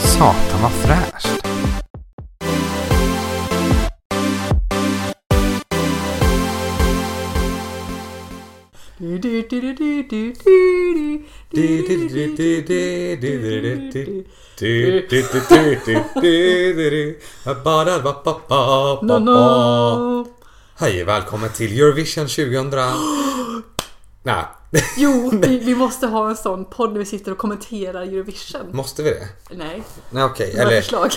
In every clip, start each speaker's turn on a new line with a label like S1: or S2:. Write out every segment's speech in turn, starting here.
S1: Satan vad fräscht.
S2: No, no. Hej och välkommen till Eurovision 2000. Nej,
S3: Jo, vi, vi måste ha en sån podd där vi sitter och kommenterar Eurovision.
S2: måste vi det?
S3: Nej,
S2: Nej okej,
S3: några
S2: eller
S3: förslag.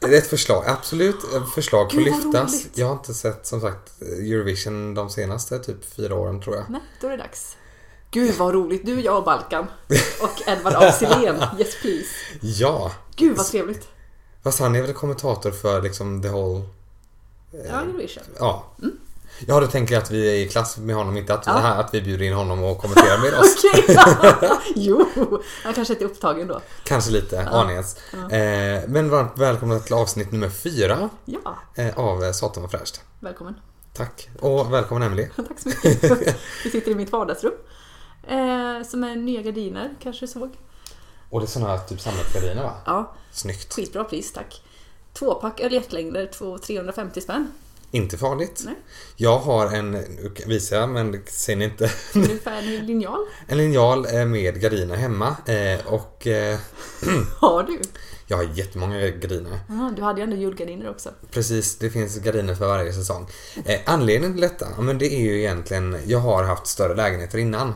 S2: är det ett förslag? Absolut, ett förslag får
S3: Gud, vad
S2: lyftas.
S3: roligt.
S2: Jag har inte sett som sagt Eurovision de senaste typ fyra åren tror jag.
S3: Nej, då är det dags. Gud vad roligt, du, jag och Balkan. Och Edvard af Sillén, yes please.
S2: Ja,
S3: Gud vad trevligt.
S2: fast han är väl kommentator för liksom the whole
S3: Ja, Eurovision.
S2: Ja. Ja, då tänker jag att vi är i klass med honom, inte att, vi,
S3: Ja.
S2: att vi bjuder in honom och kommenterar med oss.
S3: Okej! jo, han kanske inte är upptagen då.
S2: Kanske lite, aningens. Eh, men varmt välkomna till avsnitt nummer fyra
S3: Ja,
S2: eh, av eh, Satan vad fräscht.
S3: välkommen.
S2: Tack. Och välkommen Emelie.
S3: Tack så mycket. Vi sitter i mitt vardagsrum. Eh, som är nya gardiner, kanske du såg.
S2: Och det är såna här typ sammetgardiner va?
S3: Ja,
S2: Snyggt.
S3: skitbra pris, tack. Tvåpack öljettlängder, två- 350 spänn.
S2: Inte farligt.
S3: Nej.
S2: Jag har en, nu visar jag men det ser ni inte,
S3: Ungefär en linjal.
S2: en linjal eh, med gardiner hemma. Eh, och eh,
S3: Har du?
S2: jag har jättemånga gardiner.
S3: Ja, du hade ju ändå julgardiner också.
S2: Precis, det finns gardiner för varje säsong. Eh, anledningen till detta, ja, men det är ju egentligen, jag har haft större lägenheter innan.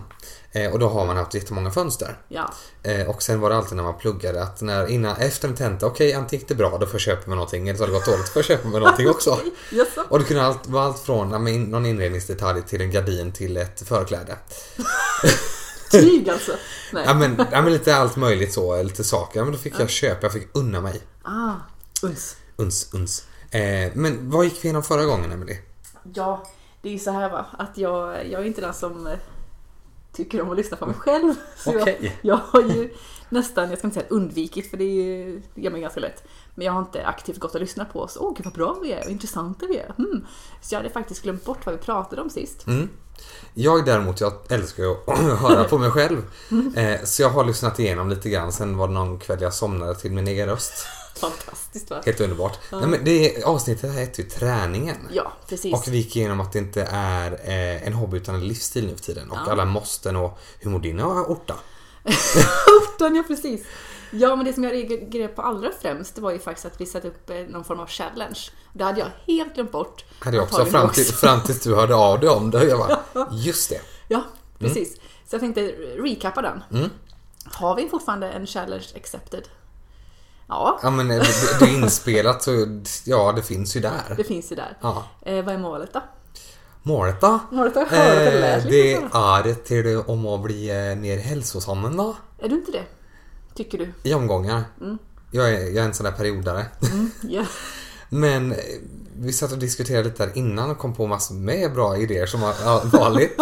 S2: Eh, och då har man haft jättemånga fönster.
S3: Ja,
S2: Eh, och sen var det alltid när man pluggade att när, innan, efter en tenta, okej antingen gick det bra, då får jag köpa mig någonting. Eller så har det gått dåligt, då får jag köpa mig någonting också.
S3: jaså?
S2: Och det kunde allt, vara allt från ja, men någon inredningsdetalj till en gardin till ett förkläde.
S3: Tyg alltså? Nej.
S2: Ja men, ja, men lite allt möjligt så, lite saker. Ja, men då fick jag köpa, jag fick unna mig.
S3: Ah, uns.
S2: Uns, uns. Eh, men vad gick vi igenom förra gången Emelie?
S3: Ja, det är ju så här va, att jag, jag är inte den som eh, tycker om att lyssna på mig själv. Så
S2: Okej.
S3: jag, jag har ju nästan, jag ska inte säga undvikit för det, är ju, det gör mig ganska lätt. Men jag har inte aktivt gått och lyssnat på oss. Åh gud vad bra vi är och intressanta vi är. Hmm. Så jag hade faktiskt glömt bort vad vi pratade om sist.
S2: Jag däremot, jag älskar ju att höra på mig själv. Eh, så jag har lyssnat igenom lite grann. Sen var det någon kväll jag somnade till min egen röst.
S3: Fantastiskt va?
S2: Helt underbart. Nej, men det avsnittet här heter ju träningen.
S3: Ja, precis.
S2: Och vi gick igenom att det inte är eh, en hobby utan en livsstil nu för tiden. Och alla måsten och hur mår din ja, orta?
S3: Utan ja, precis. Ja, men det som jag reagerade på allra främst det var ju faktiskt att vi satte upp eh, någon form av challenge. Det hade jag helt glömt bort.
S2: Hade jag också
S3: Antagligen
S2: fram, till, fram tills du hörde av dig om det. Jag bara, just det.
S3: Ja, precis. Så jag tänkte recappa den.
S2: Mm.
S3: Har vi fortfarande en challenge accepted? Ja,
S2: Ja men det, det är inspelat så ja det finns ju där.
S3: det finns ju där.
S2: Ja.
S3: Eh, vad är målet då?
S2: Målet då?
S3: Målet har jag hört att det
S2: Eh,
S3: lät
S2: det
S3: lite
S2: är till om att bli eh, mer hälsosam då.
S3: Är du inte det? Tycker du?
S2: I omgångar.
S3: Mm.
S2: Jag, är, jag är en sån där periodare.
S3: Ja.
S2: Men eh, vi satt och diskuterade lite där innan och kom på massor med bra idéer som var- ja, vanligt.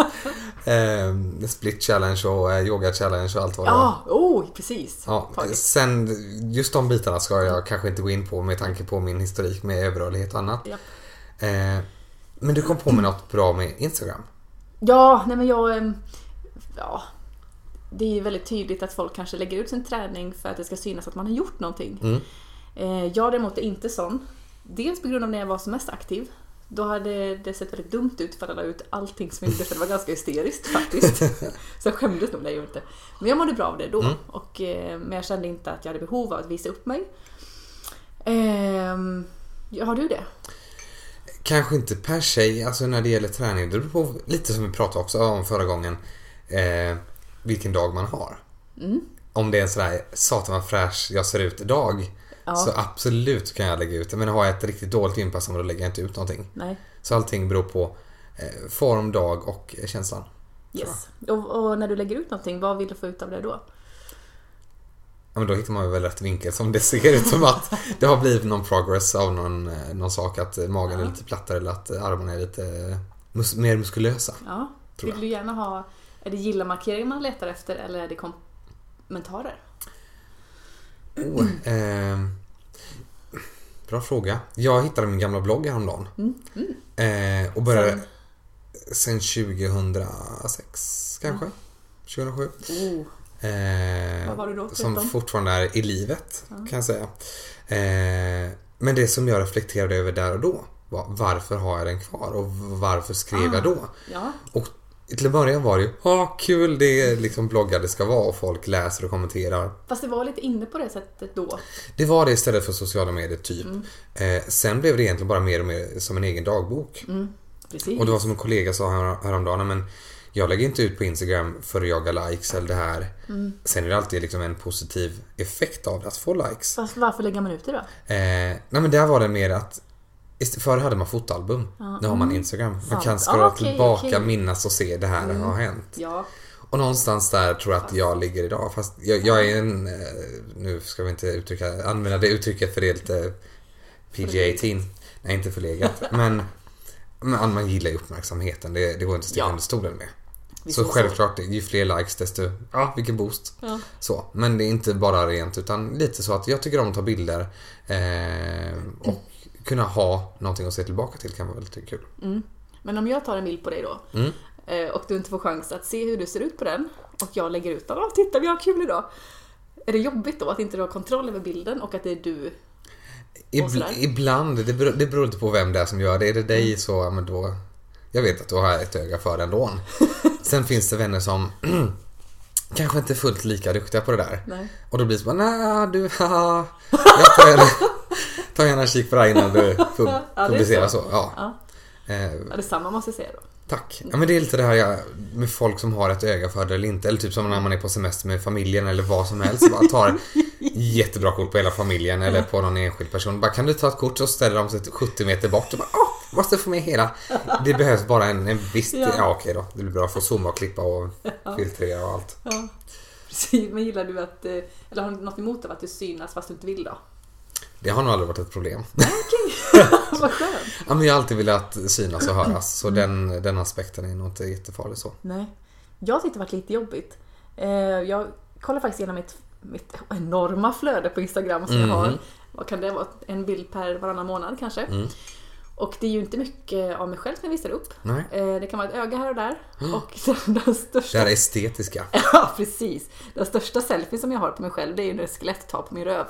S2: eh, split challenge och eh, yoga challenge och allt vad det var.
S3: Ja, oh, precis.
S2: Ja,
S3: Taget.
S2: sen just de bitarna ska jag kanske inte gå in på med tanke på min historik med överrörlighet och annat.
S3: Ja.
S2: Eh, men du kom på med något bra med Instagram.
S3: Ja, nej men jag... ehm, Ja, det är ju väldigt tydligt att folk kanske lägger ut sin träning för att det ska synas att man har gjort någonting. Eh, Jag däremot är inte sån. Dels på grund av när jag var som mest aktiv. Då hade det sett väldigt dumt ut för att jag la ut allting som jag gjorde för det var ganska hysteriskt faktiskt. Så jag skämdes nog när jag gjorde det. Men jag mådde bra av det då. Och, eh, men jag kände inte att jag hade behov av att visa upp mig. Ehm, ja, har du det?
S2: Kanske inte per se, alltså när det gäller träning, det beror på lite som vi pratade också om förra gången, eh, vilken dag man har. Om det är en sådär satan vad fräsch jag ser ut idag,
S3: Ja.
S2: så absolut kan jag lägga ut det. Men har jag ett riktigt dåligt gympass, då lägger jag inte ut någonting.
S3: Nej.
S2: Så allting beror på eh, form, dag och känslan.
S3: Yes. Och, och när du lägger ut någonting, vad vill du få ut av det då?
S2: Ja, men då hittar man väl rätt vinkel som det ser ut som att det har blivit någon progress av någon, eh, någon sak att eh, magen är lite plattare eller att eh, armarna är lite eh, mus- mer muskulösa.
S3: Ja.
S2: Tror
S3: Vill du gärna ha, är det gilla-markering man letar efter eller är det kom- kommentarer?
S2: Oh, eh, bra fråga. Jag hittade min gamla blogg häromdagen.
S3: Mm,
S2: Eh, och började sen 2006 kanske? 2007?
S3: Oh,
S2: Eh,
S3: Vad var det då?
S2: som
S3: 13?
S2: fortfarande är i livet kan jag säga. Eh, men det som jag reflekterade över där och då var varför har jag den kvar och varför skrev
S3: Ah.
S2: jag då?
S3: Ja,
S2: Och till en början var det ju, ha kul det är liksom bloggar det ska vara och folk läser och kommenterar.
S3: fast det var lite inne på det sättet då.
S2: Det var det istället för sociala medier typ.
S3: Mm.
S2: Eh, sen blev det egentligen bara mer och mer som en egen dagbok.
S3: Mm. Precis.
S2: Och det var som en kollega sa här, häromdagen, men jag lägger inte ut på Instagram för att jaga likes eller det här.
S3: Mm.
S2: Sen är det alltid liksom en positiv effekt av det, att få likes.
S3: Fast varför lägger man ut det då?
S2: Eh, nej men där var det mer att ist- Förr hade man fotalbum. Nu har man Instagram. Man
S3: Mm. Sant.
S2: kan scrolla
S3: Ah, okej,
S2: tillbaka,
S3: okej. Mm.
S2: minnas och se det här har hänt.
S3: Ja,
S2: Och någonstans där tror jag att jag ligger idag. Fast jag, jag är en... eh, Nu ska vi inte uttrycka, använda det uttrycket för det är lite PG-18. Nej, inte förlegat. men, men man gillar ju uppmärksamheten. Det, det går inte att sticka
S3: Ja.
S2: under stolen med.
S3: Visst
S2: så
S3: är det så.
S2: självklart, ju fler likes desto... Ja, vilken boost.
S3: Ja.
S2: Så. Men det är inte bara rent utan lite så att jag tycker om att ta bilder eh, och
S3: Mm.
S2: kunna ha någonting att se tillbaka till kan vara väldigt kul.
S3: men om jag tar en bild på dig då eh, och du inte får chans att se hur du ser ut på den och jag lägger ut den. "Åh, Titta vi har kul idag. Är det jobbigt då att inte du har kontroll över bilden och att det är du? Och
S2: Ibl-
S3: sådär.
S2: ibland, det beror, det beror lite på vem det är som gör det. Är det
S3: Mm.
S2: dig så, ja, men då... Jag vet att du har ett öga för det ändå. Sen finns det vänner som kanske inte är fullt lika duktiga på det där.
S3: Nej.
S2: Och då blir det så bara, nej du, haha. Jag tar gärna, tar gärna en kik på det här innan du pub-
S3: Ja, det är
S2: publicerar
S3: så.
S2: så. Ja.
S3: Ja.
S2: Eh,
S3: Ja, detsamma måste jag säga då.
S2: Tack. Ja, men det är lite det här jag, med folk som har ett öga för det eller inte. Eller typ som när man är på semester med familjen eller vad som helst. Bara tar jättebra kort på hela familjen eller på någon enskild person. Bara kan du ta ett kort och ställer de sig 70 meter bort. Och bara, Åh, måste få med hela. Det behövs bara en, en viss... Ja.
S3: Ja.
S2: okej då. Det blir bra att få zooma och klippa och filtrera och allt.
S3: Ja. Precis, men gillar du att, eh, eller har du något emot av att du synas fast du inte vill då?
S2: Det har nog aldrig varit ett problem.
S3: Vad skönt!
S2: Ja, men jag har alltid velat synas och höras. Så den, den aspekten är nog inte jättefarlig så.
S3: Nej. Jag tyckte det varit lite jobbigt. Eh, Jag kollar faktiskt igenom mitt, mitt enorma flöde på Instagram som jag har. Vad kan det vara? En bild per varannan månad kanske. Och det är ju inte mycket av mig själv som jag visar upp.
S2: Nej.
S3: Eh, Det kan vara ett öga här och där. Och den, den
S2: Det
S3: största...
S2: här estetiska.
S3: Ja, precis. Den största selfie som jag har på mig själv det är ju när ett skelett tar på min röv.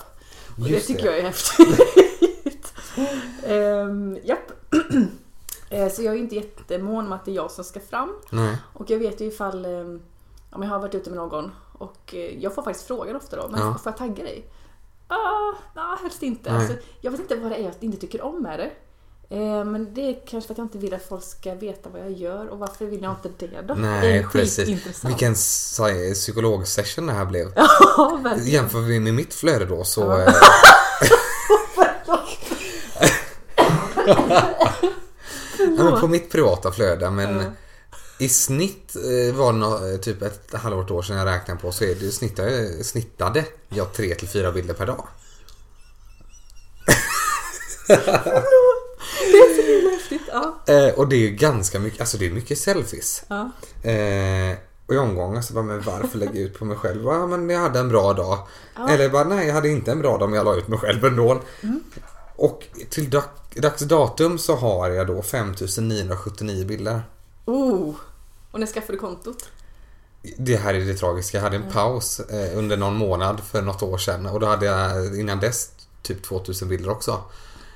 S3: Och
S2: Just
S3: det tycker
S2: det.
S3: jag är häftigt. Ehm, japp. Eh, Så jag är ju inte jättemån om att det är jag som ska fram.
S2: Nej.
S3: Och jag vet ju ifall eh, om jag har varit ute med någon och eh, jag får faktiskt frågan ofta då, men
S2: Ja.
S3: får jag tagga dig? Ah, nah, helst inte.
S2: Nej.
S3: Alltså, jag vet inte vad det är jag inte tycker om med det. Eh, Men det är kanske för att jag inte vill att folk ska veta vad jag gör och varför vill jag inte det då? det
S2: Nej,
S3: är
S2: precis.
S3: skitintressant.
S2: Vilken psy- psykologsession det här blev.
S3: Ja, verkligen.
S2: Jämför vi med mitt flöde då så...
S3: Ja.
S2: eh, ja, men på mitt privata flöde men
S3: Ja.
S2: i snitt eh, var det nå- eh, typ ett halvår år sedan jag räknade på så är det, snittade, snittade jag tre till fyra bilder per dag.
S3: Häftigt, ja.
S2: Eh, och det är ju ganska mycket, alltså det är mycket selfies.
S3: ja.
S2: Eh, och i omgångar så bara, men varför lägga ut på mig själv? Ja, men jag hade en bra dag. Eller bara, nej jag hade inte en bra dag men jag la ut mig själv ändå.
S3: Mm.
S2: Och till dag, dags datum så har jag då 5979 bilder.
S3: Oh. Och när skaffade du kontot?
S2: Det här är det tragiska. Jag hade
S3: Mm.
S2: en paus eh, under någon månad för något år sedan och då hade jag innan dess typ 2000 bilder också.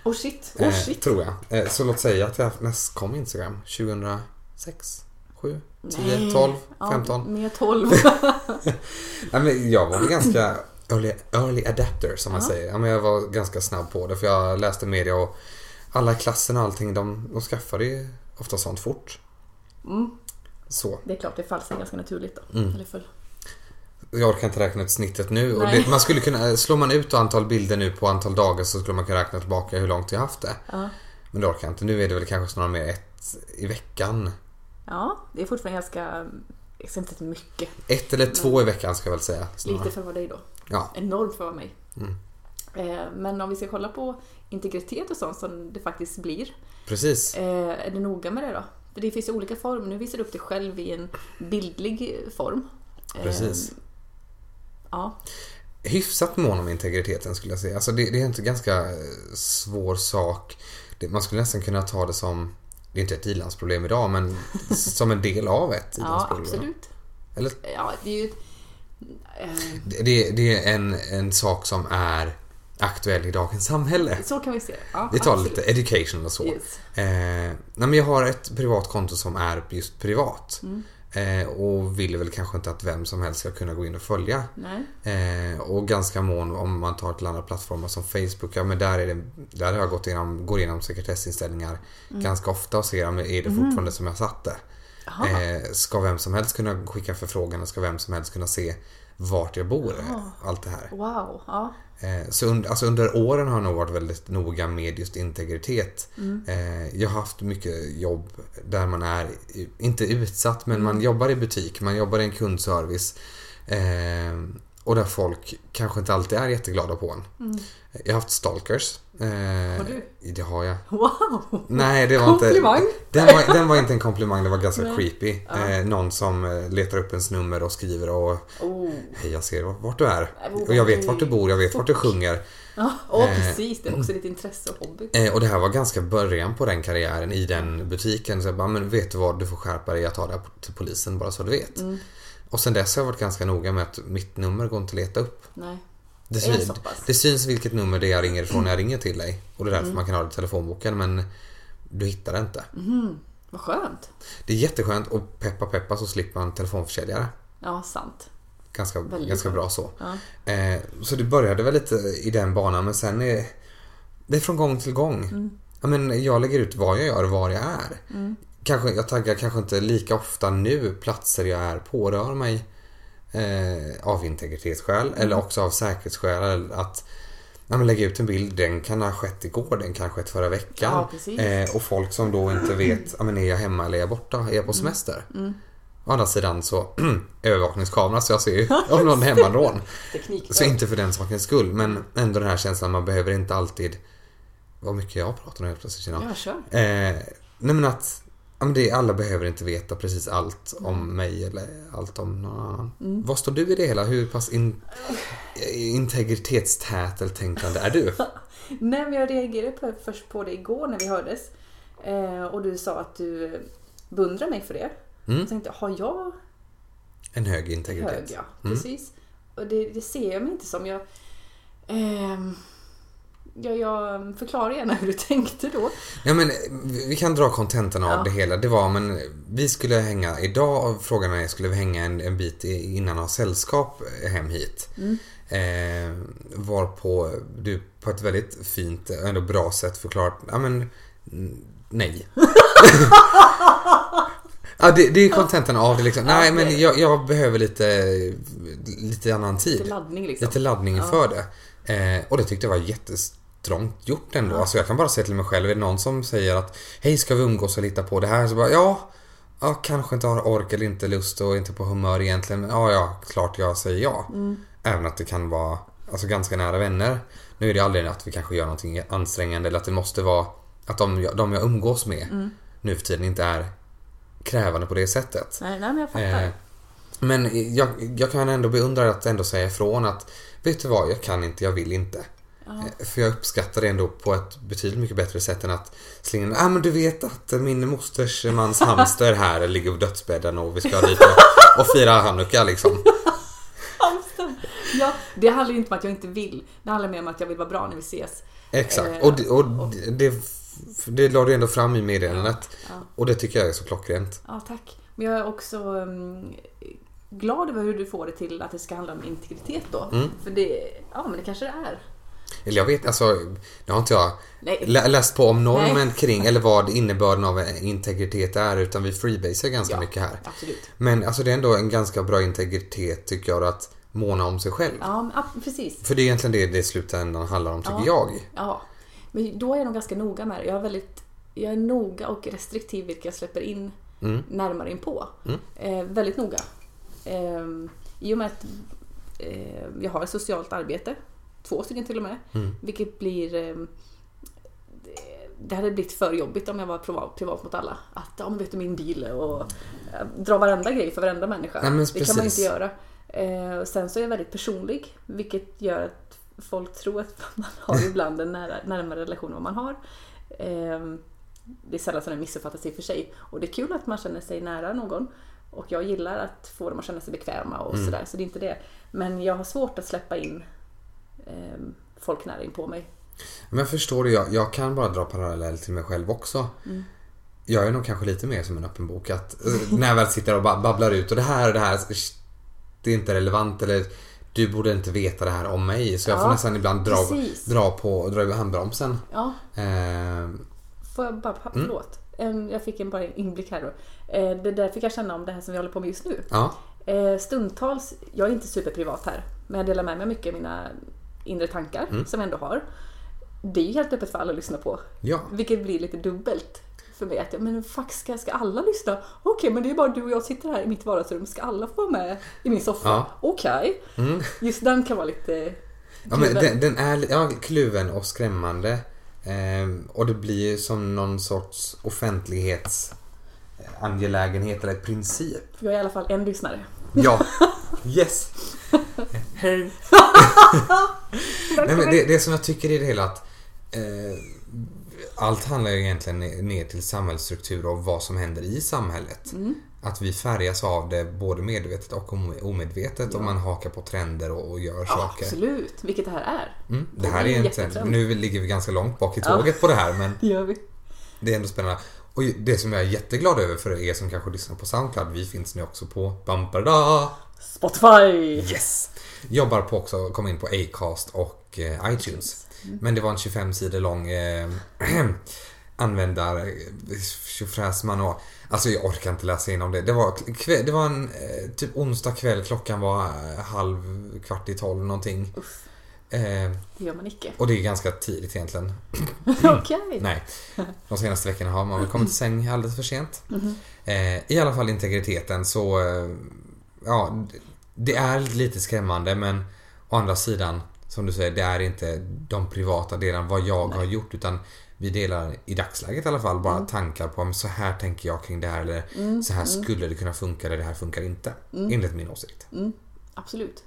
S3: Oh shit, oh
S2: eh,
S3: shit.
S2: Tror jag. Eh, så låt säga att jag näst kom Instagram 2006, 7, 10,
S3: Nej.
S2: 12,
S3: Ja,
S2: 15.
S3: mer 12.
S2: Ja, men jag var väl ganska early, early adapter som man säger. Ja, men jag var ganska snabb på det för jag läste media och alla i klassen och allting de, de skaffade ju ofta sånt fort. Så.
S3: Mm. det är klart, det faller sig ganska naturligt då.
S2: Mm.
S3: Eller full.
S2: Jag orkar inte räkna ut snittet nu. Och
S3: Nej.
S2: det, man skulle kunna, slår man ut antal bilder nu på antal dagar så skulle man kunna räkna tillbaka hur långt jag haft det.
S3: Ja.
S2: Men det orkar jag inte. Nu är det väl kanske snarare mer ett i veckan.
S3: Ja, det är fortfarande ganska... Jag ska inte säga mycket.
S2: Ett eller två i veckan ska jag väl säga.
S3: Lite
S2: Snarare.
S3: för vad dig då.
S2: Ja. Mm.
S3: Enormt för vad mig. Eh, Men om vi ska kolla på integritet och sånt som det faktiskt blir.
S2: Precis.
S3: eh, Är du noga med det då? För det finns ju olika former. Nu visar du upp dig själv i en bildlig form. Eh,
S2: Precis.
S3: Ja,
S2: hyfsat mån om integriteten skulle jag säga. Alltså det, det är inte ganska eh, svår sak. Det, man skulle nästan kunna ta det som, det är inte ett ilandsproblem idag, men som en del av ett
S3: ja
S2: ilandsproblem.
S3: absolut.
S2: Eller?
S3: Ja, det är ju... Eh,
S2: Det, det är en, en sak som är aktuell i dagens samhälle.
S3: Så kan vi se det. Ja,
S2: Vi tar
S3: absolut.
S2: lite education och så.
S3: Yes.
S2: Eh, nej men jag har ett privat konto som är just privat.
S3: Mm.
S2: Eh, och vill väl kanske inte att vem som helst ska kunna gå in och följa.
S3: Nej.
S2: Eh, och ganska mån om man tar till andra plattformar som Facebook. Ja, men där, är det, där har jag gått igenom, går igenom sekretessinställningar ganska ofta och ser om är det fortfarande som jag satte.
S3: Jaha.
S2: Eh, ska vem som helst kunna skicka förfrågan och ska vem som helst kunna se vart jag bor? eh, Allt det här.
S3: Wow. Ja.
S2: Eh, Så under, alltså under åren har jag nog varit väldigt noga med just integritet. Eh, Jag har haft mycket jobb där man är, i- inte utsatt, men
S3: Mm.
S2: man jobbar i butik, man jobbar i en kundservice. eh, Och där folk kanske inte alltid är jätteglada på en. Jag har haft stalkers. Har
S3: Mm. du?
S2: Det har jag.
S3: Wow.
S2: Nej, det var inte...
S3: Komplimang.
S2: Den var, den var inte en komplimang, det var ganska creepy. Eh, någon som eh, letar upp ens nummer och skriver och
S3: Oh.
S2: Hej, jag ser vart du är.
S3: Nej, vad
S2: Och jag vet vart du bor, jag vet vart du sjunger.
S3: Ja, och
S2: Eh.
S3: precis. Det är också ditt intresse och hobby.
S2: Eh, och det här var ganska början på den karriären i den butiken. Så jag bara, men vet du vad, du får skärpa dig. Jag tar det här till polisen bara så du vet.
S3: Mm.
S2: Och sen dess har jag varit ganska noga med att mitt nummer går inte att leta upp.
S3: Nej.
S2: Det
S3: Är det
S2: syns,
S3: så pass? Mm.
S2: det syns vilket nummer det är jag ringer ifrån när jag ringer till dig. Och det är därför man kan ha det i telefonboken men du hittar det inte.
S3: Vad skönt.
S2: Det är jätteskönt och peppa peppa så slipper man telefonförsäljare.
S3: Ja, sant.
S2: ganska,
S3: Väldigt
S2: ganska
S3: bra.
S2: bra så.
S3: Ja.
S2: Eh, så det började väl lite i den banan men sen är det är från gång till gång.
S3: Mm.
S2: Ja, men jag lägger ut vad jag gör och var jag är. Kanske, jag taggar kanske inte lika ofta nu platser jag är på. Det rör mig eh, av integritetsskäl
S3: Mm.
S2: eller också av säkerhetsskäl. eller Att ja, men lägga ut en bild, den kan ha skett igår, den kan ha skett förra veckan.
S3: Ja, precis.
S2: eh, och folk som då inte vet, ja, men är jag hemma eller är jag borta? Är
S3: Mm.
S2: jag på semester? Å andra sidan så övervakningskamera så jag ser ju om någon är hemmanrån.
S3: Teknik.
S2: Så inte för den sakens skull men ändå den här känslan man behöver inte alltid vad mycket jag pratar nu helt plötsligt Kina.
S3: Ja, kör.
S2: Eh, nej men att ja, men det, är- alla behöver inte veta precis allt
S3: Mm.
S2: om mig eller allt om någon annan. Vad står du i det hela? Hur pass in, integritetstät eller tänkande är du?
S3: Nej, men jag reagerade på, först på det igår när vi hördes. Eh, och du sa att du beundrar mig för det. Jag tänkte, har jag
S2: En hög integritet.
S3: hög? Ja, precis. Och det, det ser jag mig inte som. Jag, ehm, jag, jag förklarar gärna hur du tänkte då.
S2: Ja, men eh, vi vi kan dra kontentan av det hela. Det var, men vi skulle hänga idag och frågan är, skulle vi hänga en, en bit i- innan ha sällskap hem hit? Eh, varpå du på ett väldigt fint, ändå bra sätt förklarat, ja men n- nej. ja, det, det är kontentan av det liksom. Nej, men jag, jag behöver lite, lite annan tid.
S3: Lite laddning liksom.
S2: Lite laddning inför det. Eh, och det tyckte jag var jättestrångt gjort ändå. Alltså jag kan bara säga till mig själv, är det någon som säger att hej ska vi umgås och lita på det här? Så bara ja, ja kanske inte har ork eller inte lust och inte på humör egentligen. Men ja, ja, klart jag säger ja. Även att det kan vara alltså, ganska nära vänner. Nu är det aldrig att vi kanske gör någonting ansträngande eller att det måste vara att de, jag- de jag umgås med nu för tiden inte är krävande på det sättet.
S3: Nej, nej, men jag fattar.
S2: Eh, men jag, jag kan ändå beundra att ändå säga ifrån att vet du vad, jag kan inte, jag vill inte. Eh, För jag uppskattar det ändå på ett betydligt mycket bättre sätt än att slänga in, ah, men du vet att min mosters mans hamster här ligger på dödsbädden och vi ska dit och, och fira hanukka liksom.
S3: Hamster. Alltså, Ja, det handlar ju inte om att jag inte vill. Det handlar mer om att jag vill vara bra när vi ses.
S2: Exakt.
S3: Eh,
S2: Och, det- och det, det, det la du ändå fram i meddelandet. Och det tycker jag är så klockrent.
S3: Ja, tack. Men jag är också ehm, glad över hur du får det till att det ska handla om integritet då. För det, ja men det kanske det är.
S2: Eller jag vet, alltså, det har inte jag
S3: Nej.
S2: lä- läst på om normen
S3: Nej.
S2: kring, eller vad innebörden av eh, integritet är, utan vi freebasar ganska
S3: Ja,
S2: mycket här.
S3: absolut.
S2: Men alltså det är ändå en ganska bra integritet tycker jag, att måna om sig själv.
S3: Ja, men, ja precis.
S2: För det är egentligen det det i slutändan handlar om, tycker jag.
S3: Ja. Men då är jag nog ganska noga med det. Jag är väldigt jag är noga och restriktiv vilka jag släpper in
S2: Mm.
S3: närmare inpå. Eh, väldigt noga. Eh, I och med att eh, jag har ett socialt arbete, två stycken till och med,
S2: Mm.
S3: vilket blir ehm, det hade blivit för jobbigt om jag var privat, privat mot alla. Att ja, men vet du min bil och eh, dra varenda grej för varenda människa.
S2: Nej, men
S3: det kan man ju
S2: precis.
S3: inte göra. Eh, och sen så är jag väldigt personlig vilket gör att folk tror att man har ibland en nära, närmare relation än vad man har. Eh, det är sällan som den missuppfattas i och för sig. Och det är kul att man känner sig nära någon. Och jag gillar att få dem att känna sig bekväma och sådär, så det är inte det. Men jag har svårt att släppa in eh, folknäring på mig.
S2: Men jag förstår det. Jag, jag kan bara dra parallell till mig själv också.
S3: Mm.
S2: Jag är nog kanske lite mer som en öppen bok. Att, eh, när jag väl sitter och ba- babblar ut och det här och det här. sh- Det är inte relevant eller du borde inte veta det här om mig. Så jag får
S3: Ja,
S2: nästan ibland dra,
S3: precis.
S2: dra på dra över handbromsen.
S3: Ja,
S2: Eh,
S3: Får jag bara, förlåt. En- Jag fick en bara en inblick här då. Eh, Det där fick jag känna om det här som vi håller på med just nu.
S2: ja.
S3: Eh, Stundtals, jag är inte superprivat här, men jag delar med mig mycket av mina inre tankar som jag ändå har. Det är ju helt öppet för alla att lyssna på.
S2: Ja.
S3: Vilket blir lite dubbelt för mig. Att, jag, men fuck, ska, ska alla lyssna? Okej, men det är bara du och jag sitter här i mitt vardagsrum. Ska alla få vara med i min soffa?
S2: Ja. Mm.
S3: Okej. Just den kan vara lite...
S2: Ja, men
S3: kluven.
S2: den, den är li- ja, kluven och skrämmande. Ehm, och det blir ju som någon sorts offentlighetsangelägenhet eller princip.
S3: Jag är i alla fall en lyssnare.
S2: Ja. Yes. Hej. Nej, men det, det som jag tycker i det hela att eh, allt handlar ju egentligen ne- ner till samhällsstruktur och vad som händer i samhället. Att vi färgas av det både medvetet och om- omedvetet och man hakar på trender och, och gör saker.
S3: Absolut, vilket det här är.
S2: Mm, det här är
S3: Det är en
S2: egentligen,
S3: jättetrend.
S2: nu ligger vi ganska långt bak i tåget på det här men
S3: Det gör vi.
S2: det är ändå spännande. Och det som jag är jätteglad över för er som kanske lyssnar på Soundcloud, vi finns nu också på Bumperda.
S3: Spotify!
S2: Yes! Jobbar på också, kom in på Acast och eh, iTunes. Men det var en 25 sidor lång eh, användar tjofräs manual. Alltså jag orkar inte läsa igenom det. Det var, kväll, det var en eh, typ onsdag kväll, klockan var eh, halv, kvart i tolv någonting.
S3: Uff,
S2: Eh,
S3: det gör man icke.
S2: och det är ganska tidigt egentligen.
S3: Okej.
S2: Mm. Nej. De senaste veckorna har man väl kommit till säng alldeles för sent. Eh, I alla fall integriteten så... Eh, ja, d- det är lite skrämmande men å andra sidan, som du säger, det är inte de privata delarna vad jag har gjort utan vi delar i dagsläget i alla fall bara tankar på om så här tänker jag kring det här eller så här skulle det kunna funka eller det här funkar inte. Enligt min åsikt.
S3: Absolut.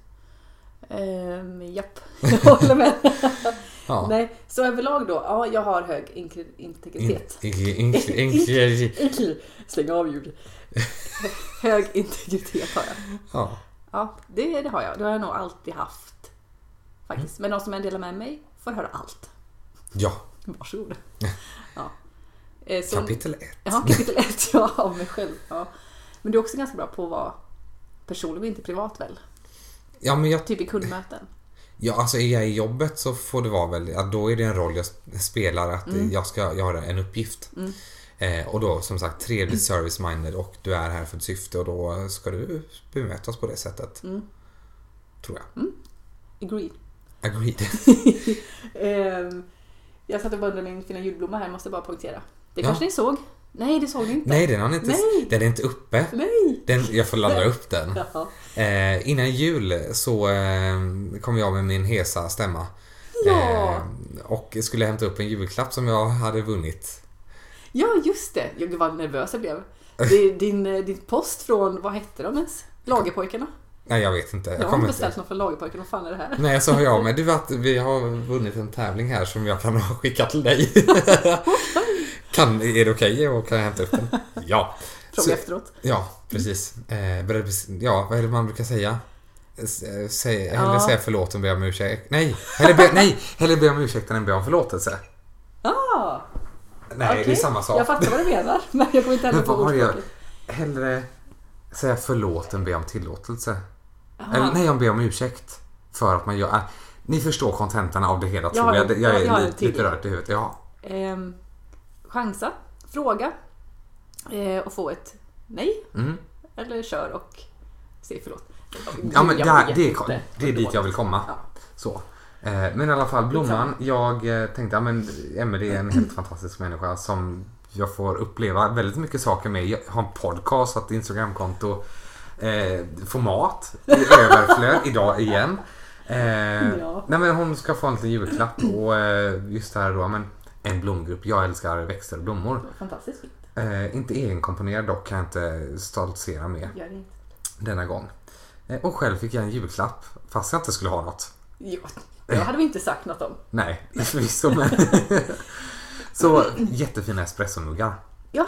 S3: Ehm, japp, jag håller med.
S2: Ja.
S3: Nej, så överlag då, ja jag har hög inkri- integritet.
S2: In, in, in, in, in,
S3: Inkri- Släng av ljud. hög integritet har jag.
S2: ja.
S3: Ja, det, det har jag. Det har jag nog alltid haft. Faktiskt. Men de som jag delar med mig får höra allt.
S2: ja,
S3: Varsågod. Ja. Eh, så-
S2: kapitel 1.
S3: Ja, kapitel ett ja, av mig själv. Ja. Men du är också ganska bra på att vara personlig och inte privat väl?
S2: Ja, men jag
S3: Typ i kundmöten.
S2: Ja, alltså är jag i jobbet så får det vara väl, ja, då är det en roll jag sp- spelar att eh,
S3: Mm.
S2: jag ska göra en uppgift. Eh, och då som sagt trevligt service-minded och du är här för ett syfte och då ska du bemötas på det sättet.
S3: Mm.
S2: Tror jag.
S3: Agreed.
S2: Agreed.
S3: Ehm, jag satt och bara undrade min fina julblomma här, måste jag bara poängtera. Det
S2: Ja.
S3: kanske ni såg? Nej, det såg ni inte.
S2: Nej, den, har ni inte,
S3: Nej.
S2: den är inte uppe.
S3: Nej!
S2: Den, jag får ladda upp den.
S3: Ja.
S2: Eh, innan jul så eh, kom jag med min hesa stämma.
S3: Ja.
S2: Eh, och skulle hämta upp en julklapp som jag hade vunnit.
S3: ja, just det. Jag, gud vad nervös jag blev. Det, är din, eh, din post från, vad hette de ens? Lagerpojkarna?
S2: Nej, jag vet inte.
S3: Jag har
S2: kommer
S3: inte
S2: inte
S3: beställt någon från Lagerpojkarna, vad fan är det här?
S2: Nej, så hör jag av mig. Du, att vi har vunnit en tävling här som jag kan ha skickat till dig. kan, är det okej? Och kan jag hämta upp den? Ja.
S3: Fråga
S2: Så-
S3: efteråt.
S2: Ja, precis. Eh, börja bes- ja, vad är det man brukar säga? S- eh, Säg, hellre
S3: Ja.
S2: säga förlåt än be om ursäkt. Nej, hellre be, nej, hellre be om ursäkt än be om förlåtelse.
S3: Ah,
S2: Nej, det är
S3: okej.
S2: samma sak.
S3: Jag fattar vad du menar, men jag kommer inte heller
S2: Men
S3: på
S2: vad har jag?
S3: ordspråket.
S2: Hellre säga förlåt än be om tillåtelse.
S3: Aha.
S2: Eller nej, jag ber om ursäkt. För att man gör... äh, Ni förstår kontentan av det hela tror
S3: har-
S2: jag. Det- Jag
S3: jag-
S2: är
S3: jag har en
S2: lite,
S3: till.
S2: lite rörd i huvudet. Ja.
S3: Ehm, chansa, fråga eh, och få ett nej.
S2: Mm.
S3: Eller kör och säg förlåt.
S2: Ja, men
S3: Jag
S2: där,
S3: vet
S2: det,
S3: inte.
S2: är, det är dit jag vill komma.
S3: Ja.
S2: Så. Eh, Men i alla fall blomman. Jag eh, tänkte, ja men Emelie är en helt fantastisk människa som jag får uppleva väldigt mycket saker med. Jag har en podcast, har ett Instagramkonto, eh, format i överflöd idag igen. Eh,
S3: Ja.
S2: Nej men hon ska få en liten julklapp och eh, just det här då, ja, men en blomgrupp. Jag älskar växter och blommor.
S3: Fantastiskt fint.
S2: Eh, inte egenkomponerad dock, kan jag inte stoltsera med
S3: Gör det inte.
S2: denna gång. Eh, Och själv fick jag en julklapp fast jag inte skulle ha något.
S3: Jo,
S2: Eh.
S3: det hade vi inte sagt något om.
S2: Nej, förvisso men. Så jättefina espressonuggar.
S3: Ja,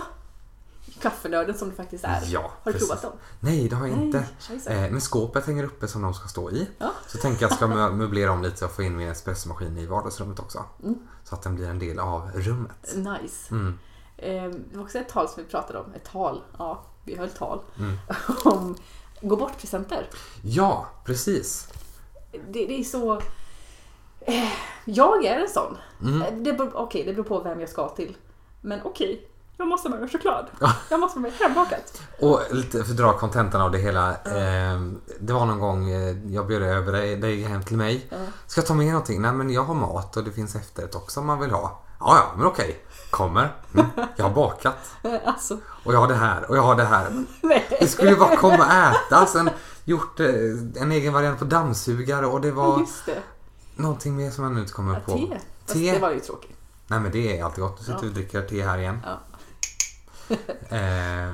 S3: kaffenörden som du faktiskt är.
S2: Ja,
S3: har du
S2: precis.
S3: provat dem?
S2: Nej, det har jag inte.
S3: Nej, scheisse.
S2: Eh, men skåpet hänger uppe som de ska stå i.
S3: Ja.
S2: Så tänker jag att jag ska mö- möblera om lite och få in min espressomaskin i vardagsrummet också.
S3: Mm.
S2: Så att den blir en del av rummet.
S3: Nice.
S2: Mm.
S3: Eh, Det var också ett tal som vi pratade om. Ett tal. Ja, vi höll tal.
S2: Mm.
S3: om gå bort-presenter.
S2: Ja, precis.
S3: Det, det är så... Eh, Jag är en sån.
S2: Mm.
S3: Eh, Det beror, okej, det beror på vem jag ska till. Men okej, jag måste ha med mig choklad. Jag måste ha med mig hembakat.
S2: Och lite för att dra kontentan av det hela. Eh, det var någon gång eh, jag bjöd över dig, dig hem till mig. Ska jag ta med någonting? Nej men jag har mat och det finns efterrätt också om man vill ha. Ja, ja, men okej. Kommer. Mm. Jag har bakat.
S3: Eh, Alltså,
S2: Och jag har det här och jag har det här. Men
S3: nej.
S2: Vi skulle ju bara komma och äta. Sen gjort eh, en egen variant på dammsugare och det var
S3: Just det.
S2: någonting mer som jag nu inte kommer
S3: Ja,
S2: på.
S3: te. Fast
S2: Te.
S3: Det var ju tråkigt.
S2: Nej men det är alltid gott. Nu sitter vi och dricker te här igen.
S3: Ja.
S2: eh,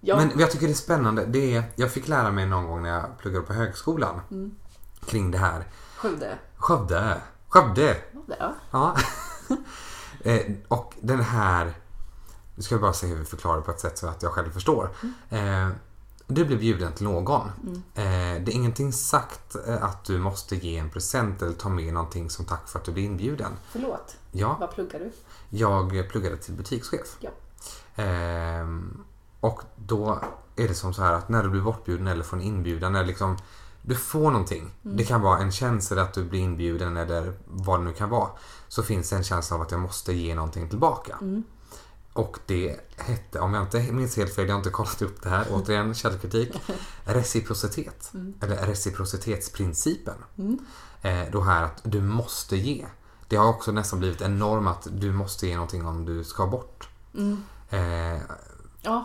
S3: Ja,
S2: Men jag tycker det är spännande. Det är, jag fick lära mig någon gång när jag pluggade på högskolan kring det här.
S3: Skövde.
S2: Skövde. Skövde.
S3: Ja.
S2: Ja. eh, och den här... Nu ska jag bara se hur vi förklarar det på ett sätt så att jag själv förstår. Eh, du blir bjuden till någon. Eh, det är ingenting sagt eh, att du måste ge en present eller ta med någonting som tack för att du blir inbjuden.
S3: Förlåt.
S2: Ja,
S3: Vad pluggar du?
S2: jag pluggade till butikschef.
S3: Ja.
S2: Ehm, och då är det som så här att när du blir bortbjuden eller får en inbjudan eller liksom du får någonting. Det kan vara en chans eller att du blir inbjuden eller vad det nu kan vara. Så finns det en känsla av att jag måste ge någonting tillbaka. Och det hette, om jag inte minns helt fel, jag har inte kollat upp det här, återigen källkritik, reciprocitet. Eller reciprocitetsprincipen. Eh, då här att du måste ge. Det har också nästan blivit en norm att du måste ge någonting om du ska bort. Eh,
S3: Ja,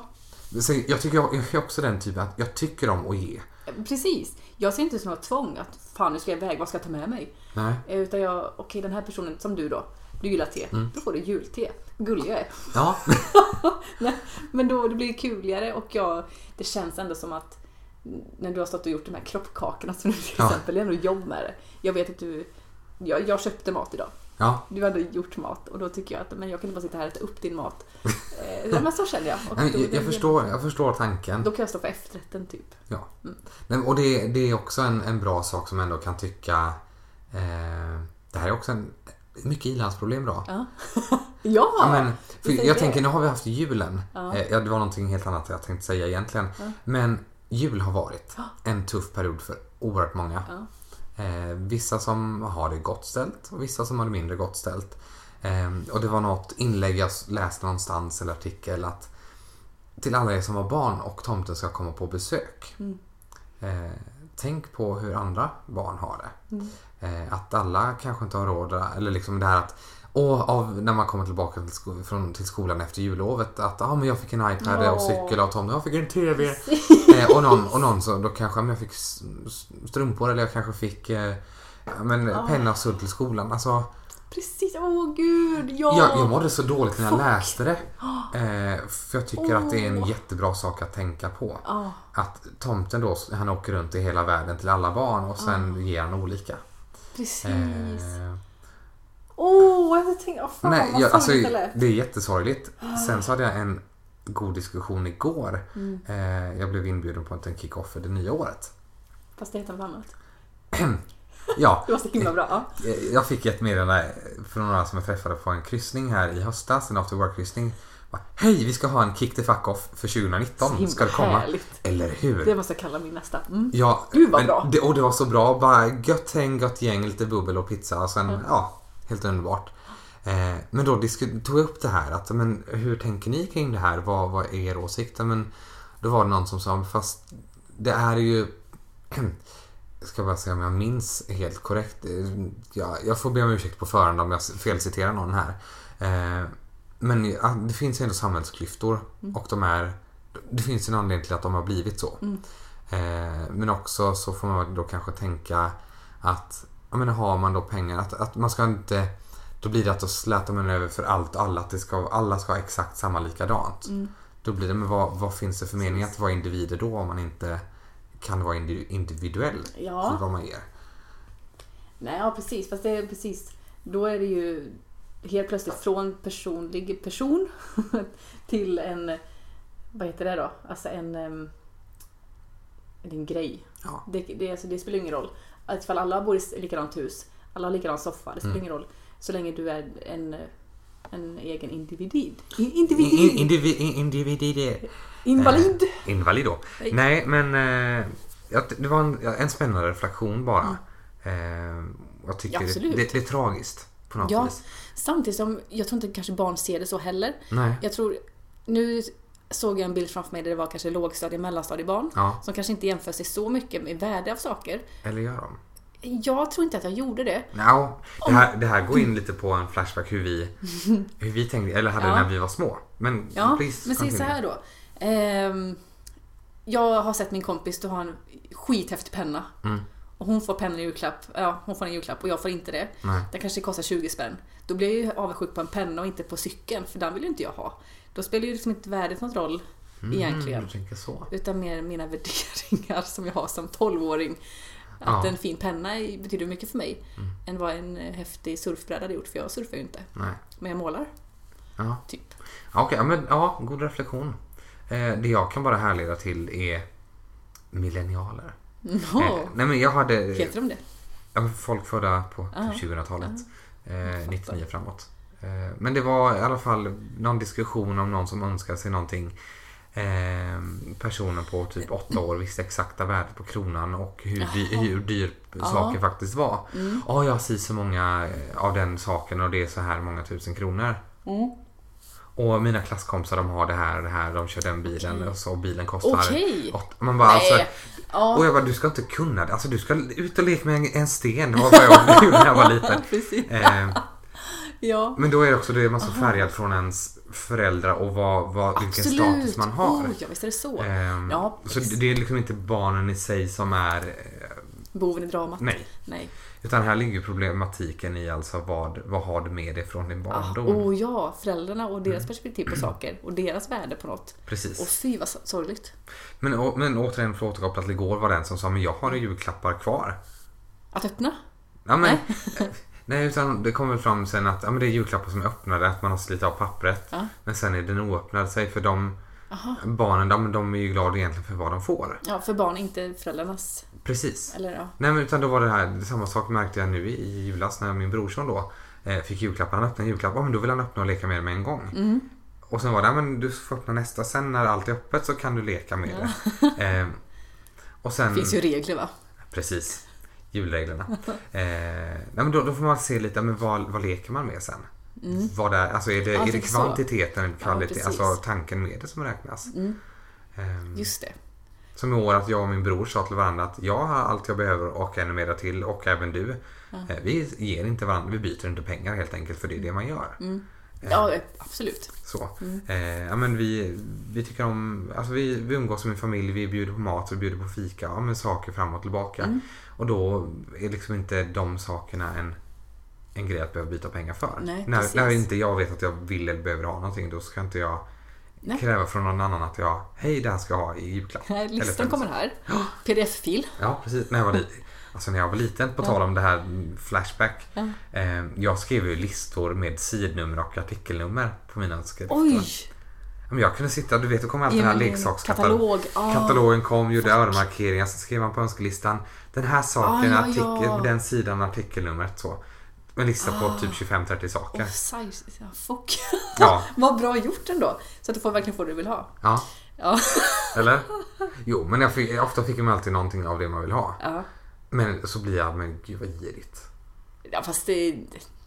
S2: så jag tycker jag, jag är också den typen att jag tycker om att ge.
S3: Precis. Jag ser inte det som något tvång att fan nu ska jag iväg, vad ska jag ta med mig?
S2: Nej.
S3: Eh, Utan jag, okej den här personen, som du då, du gillar te,
S2: Mm.
S3: då får du julte. Gullig jag är.
S2: Ja.
S3: Nej, Men då det blir kuligare och jag, det känns ändå som att när du har stått och gjort de här kroppkakorna som du till
S2: Ja.
S3: exempel, det är ändå jobb med det. Jag vet att du, jag, jag köpte mat idag.
S2: ja.
S3: Du har ändå gjort mat och då tycker jag att men jag kan inte bara sitta här och äta upp din mat. Eh, ja, men så känner jag. Och
S2: Nej,
S3: då,
S2: Jag, jag, förstår, jag förstår tanken.
S3: Då kan jag stå för efterrätten typ.
S2: Ja. Nej, och det, det är också en, en bra sak som ändå kan tycka... Eh, det här är också en, mycket i-landsproblem då.
S3: Ja, ja,
S2: Ja, men,
S3: vi
S2: för
S3: säger
S2: jag
S3: det.
S2: tänker, nu har vi haft julen.
S3: Ja.
S2: Eh, ja, det var någonting helt annat jag tänkte säga egentligen. Men jul har varit en tuff period för oerhört många.
S3: Ja.
S2: Eh, vissa som har det gott ställt och vissa som har det mindre gott ställt. Eh, och det var något inlägg jag s- läste någonstans eller artikel att till alla er som har barn och tomten ska komma på besök.
S3: Mm.
S2: Eh, tänk på hur andra barn har det.
S3: Mm.
S2: Eh, att alla kanske inte har råd eller liksom det här att och av, när man kommer tillbaka till, sko- från, till skolan efter jullovet att ah, men jag fick en iPad och
S3: Åh.
S2: cykel av Tom, jag fick en TV. Eh, och någon, och någon så, då kanske men jag fick s- s- strumpor eller jag kanske fick eh, ja, men, penna och sudd till skolan. Alltså,
S3: precis. Åh gud, ja.
S2: jag, jag mådde så dåligt när jag läste det. Eh, för jag tycker att det är en
S3: Åh.
S2: jättebra sak att tänka på.
S3: Ja.
S2: Att tomten då, han åker runt i hela världen till alla barn och sen ger han olika.
S3: Precis.
S2: Eh,
S3: Åh, oh, jag tänkte, oh, fan
S2: Nej,
S3: vad
S2: jag, alltså,
S3: sorgligt Ah. det lät.
S2: det är jättesorgligt. Sen så hade jag en god diskussion igår.
S3: Mm.
S2: Eh, jag blev inbjuden på en kick-off för det nya året.
S3: Fast det heter något annat.
S2: Ja,
S3: Det var så himla bra. Ja.
S2: eh, jag fick ett meddelande från några som jag träffade på en kryssning här i höstas, en after work-kryssning. Bara, Hej, vi ska ha en kick the fuck off för 2019.
S3: himla
S2: Ska det komma?
S3: härligt.
S2: Eller hur?
S3: Det måste jag kalla min nästa. Mm.
S2: Ja,
S3: Gud, vad
S2: men
S3: bra.
S2: Det, och det var så bra. Bara gött häng, gött gäng, lite bubbel och pizza. Och
S3: Mm.
S2: sen, ja, helt underbart. Eh, men då disku- tog jag upp det här. Att, men, hur tänker ni kring det här? Vad, vad är er åsikt? Ja, Men, då var det någon som sa, fast det är ju... Jag ska bara se om jag minns helt korrekt. Eh, Ja, jag får be om ursäkt på förhand om jag s- felciterar någon här. Eh, men ja, det finns ju ändå samhällsklyftor
S3: Mm.
S2: och de är... Det finns ju en anledning till att de har blivit så. Eh, men också så får man då kanske tänka att jag menar, har man då pengar, att, att man ska inte... Då blir det att då slätar man över för allt och alla, att det ska, alla ska ha exakt samma likadant.
S3: Mm.
S2: Då blir det, men vad, vad finns det för mening att vara individer då om man inte kan vara indi- individuell
S3: Ja.
S2: i vad man ger?
S3: Nej, ja precis. Fast det är precis. Då är det ju helt plötsligt från personlig person till en vad heter det då? Alltså en, em, en grej.
S2: Ja.
S3: Det, det, alltså, det spelar ingen roll. Att ifall alla bor i likadant hus, alla har likadan soffa, det spelar
S2: Mm.
S3: ingen roll. Så länge du är en, en egen individ. In, individ!
S2: In, in, individ, in, individ,
S3: Invalid!
S2: Eh, invalid då. Nej,
S3: Nej.
S2: men eh, jag- det var en, en spännande reflektion bara. Eh, jag tycker
S3: Ja, Mm. absolut.
S2: det, det är tragiskt på något
S3: Ja,
S2: vis.
S3: samtidigt som jag tror inte kanske barn ser det så heller.
S2: Nej.
S3: Jag tror, nu såg jag en bild framför mig där det var kanske lågstadie och mellanstadiebarn.
S2: Ja.
S3: Som kanske inte jämför sig så mycket med värde av saker.
S2: Eller gör de?
S3: Jag tror inte att jag gjorde det.
S2: No. Det, här, det här går in lite på en flashback hur vi, hur vi tänkte, eller hade
S3: Ja.
S2: när vi var små. Men
S3: Ja,
S2: please,
S3: men se
S2: continue.
S3: så här då. Ehm, jag har sett min kompis, du har en skithäftig penna.
S2: Mm.
S3: Och hon får pennan i julklapp, ja hon får en julklapp och jag får inte det.
S2: Nej.
S3: Den kanske kostar 20 spänn. Då blir jag ju avundsjuk på en penna och inte på cykeln, för den vill ju inte jag ha. Då spelar ju liksom inte värdet någon roll egentligen.
S2: Mm, du tänker så.
S3: Utan mer mina värderingar som jag har som 12-åring. Att
S2: Ja. Mm.
S3: en fin penna är- betyder mycket för mig. Än vad en eh, häftig surfbräda hade gjort, för jag surfar ju inte.
S2: Nej.
S3: Men jag målar,
S2: Ja.
S3: typ.
S2: Ja, Okej, ja, men ja, god reflektion. Eh, det jag kan bara härleda till är millennialer.
S3: No.
S2: Eh, nej men jag hade
S3: Heter de det?
S2: ja, men folk födda på
S3: Ja.
S2: typ 2000-talet. Eh,
S3: fattar.
S2: 99 framåt. Eh, men det var i alla fall någon diskussion om någon som önskade sig någonting. Eh, personen på typ åtta år visste exakta värdet på kronan och hur, dy- hur dyr saker faktiskt var. Ja,
S3: Mm.
S2: jag har si så många eh, av den saken och det är så här många tusen kronor.
S3: Mm.
S2: Och mina klasskompisar de har det här och det här, de kör den bilen och så och bilen kostar
S3: Okej.
S2: åtta. Man bara alltså,
S3: Nej. Ja.
S2: och jag bara, du ska inte kunna det. Alltså du ska ut och leka med en, en sten. Det var vad jag gjorde när jag var liten.
S3: Precis.
S2: Eh,
S3: Ja.
S2: men då är det också, då är man så färgad från ens föräldrar och vad, vad, vilken status man har.
S3: Oh, ja, visst är det så.
S2: Ehm,
S3: ja,
S2: så det det är liksom inte barnen i sig som är... eh,
S3: boven i dramat.
S2: Nej.
S3: Nej.
S2: Utan här ligger problematiken i alltså vad, vad har du med dig från din
S3: Ah,
S2: barndom? Mm.
S3: oh ja, föräldrarna och deras perspektiv på saker och deras värde på något.
S2: Precis.
S3: Och fy vad sorgligt.
S2: Men, å- men återigen för att återkoppla till igår var det en som sa men jag har ju julklappar kvar.
S3: Att öppna?
S2: Ja, men, nej, utan det kommer väl fram sen att ja, men det är julklappar som är öppnade, att man har slitit av pappret.
S3: Ja.
S2: Men sen är den oöppnad sig för de
S3: Aha.
S2: barnen, de, de är ju glada egentligen för vad de får.
S3: Ja, för barn, inte föräldrarnas.
S2: Precis.
S3: Eller ja.
S2: Nej men utan då var det här, samma sak märkte jag nu i, i julas när min brorson då eh, fick julklappar. Han öppnade en julklapp, ja men då vill han öppna och leka med det med en gång.
S3: Mm.
S2: Och sen var det, ja, men du får öppna nästa, sen när allt är öppet så kan du leka med det. Eh, och sen...
S3: finns ju regler va?
S2: Precis. Julreglerna. eh, nej, men då, då får man se lite, men vad, vad leker man med sen? Vad är, alltså är det,
S3: Mm. Ja,
S2: är det
S3: typ så.
S2: kvantiteten eller kvalitet,
S3: precis.
S2: alltså tanken med det som räknas? Eh,
S3: Mm. Just det.
S2: som i år att jag och min bror sa till varandra att jag har allt jag behöver och ännu mera till och även du. Eh, vi ger inte varandra, vi byter inte pengar helt enkelt för det är det man gör.
S3: Mm. Ja, absolut.
S2: Så.
S3: Mm.
S2: Eh, ja, men vi, vi tycker om, alltså vi, vi umgås som en familj, vi bjuder på mat, vi bjuder på fika, ja, men saker fram och tillbaka.
S3: Mm.
S2: Och då är liksom inte de sakerna en, en grej att behöva byta pengar för.
S3: Nej, precis.
S2: när, när inte jag vet att jag vill eller behöver ha någonting då ska inte jag
S3: Nej.
S2: kräva från någon annan att jag, hej det här ska jag ha i julklapp.
S3: Nej,
S2: Eller
S3: listan
S2: present.
S3: kommer här. Pdf-fil.
S2: Ja, precis. När jag var, li- alltså, när jag var liten, på tal om det här mm, Flashback.
S3: Ja.
S2: Eh, jag skrev ju listor med sidnummer och artikelnummer på mina skrifter.
S3: Oj!
S2: Ja, Men jag kunde sitta, du vet, då kom alltid den här
S3: I en
S2: leksakskatalogen.
S3: Katalog. Ah.
S2: Katalogen kom, gjorde öronmarkeringar, så skrev man på önskelistan den här saken,
S3: Ah, ja,
S2: artikel,
S3: ja. Ah.
S2: den sidan, artikelnumret så. En lista på typ 25-30 saker.
S3: Offside. Ja, Fuck.
S2: Ja.
S3: vad bra gjort ändå. Så att du får verkligen få det du vill ha.
S2: Ja,
S3: Ja.
S2: eller? Jo, men jag fick, ofta fick man alltid någonting av det man vill ha.
S3: ja.
S2: Men så blir jag, men gud vad girigt.
S3: Ja fast det...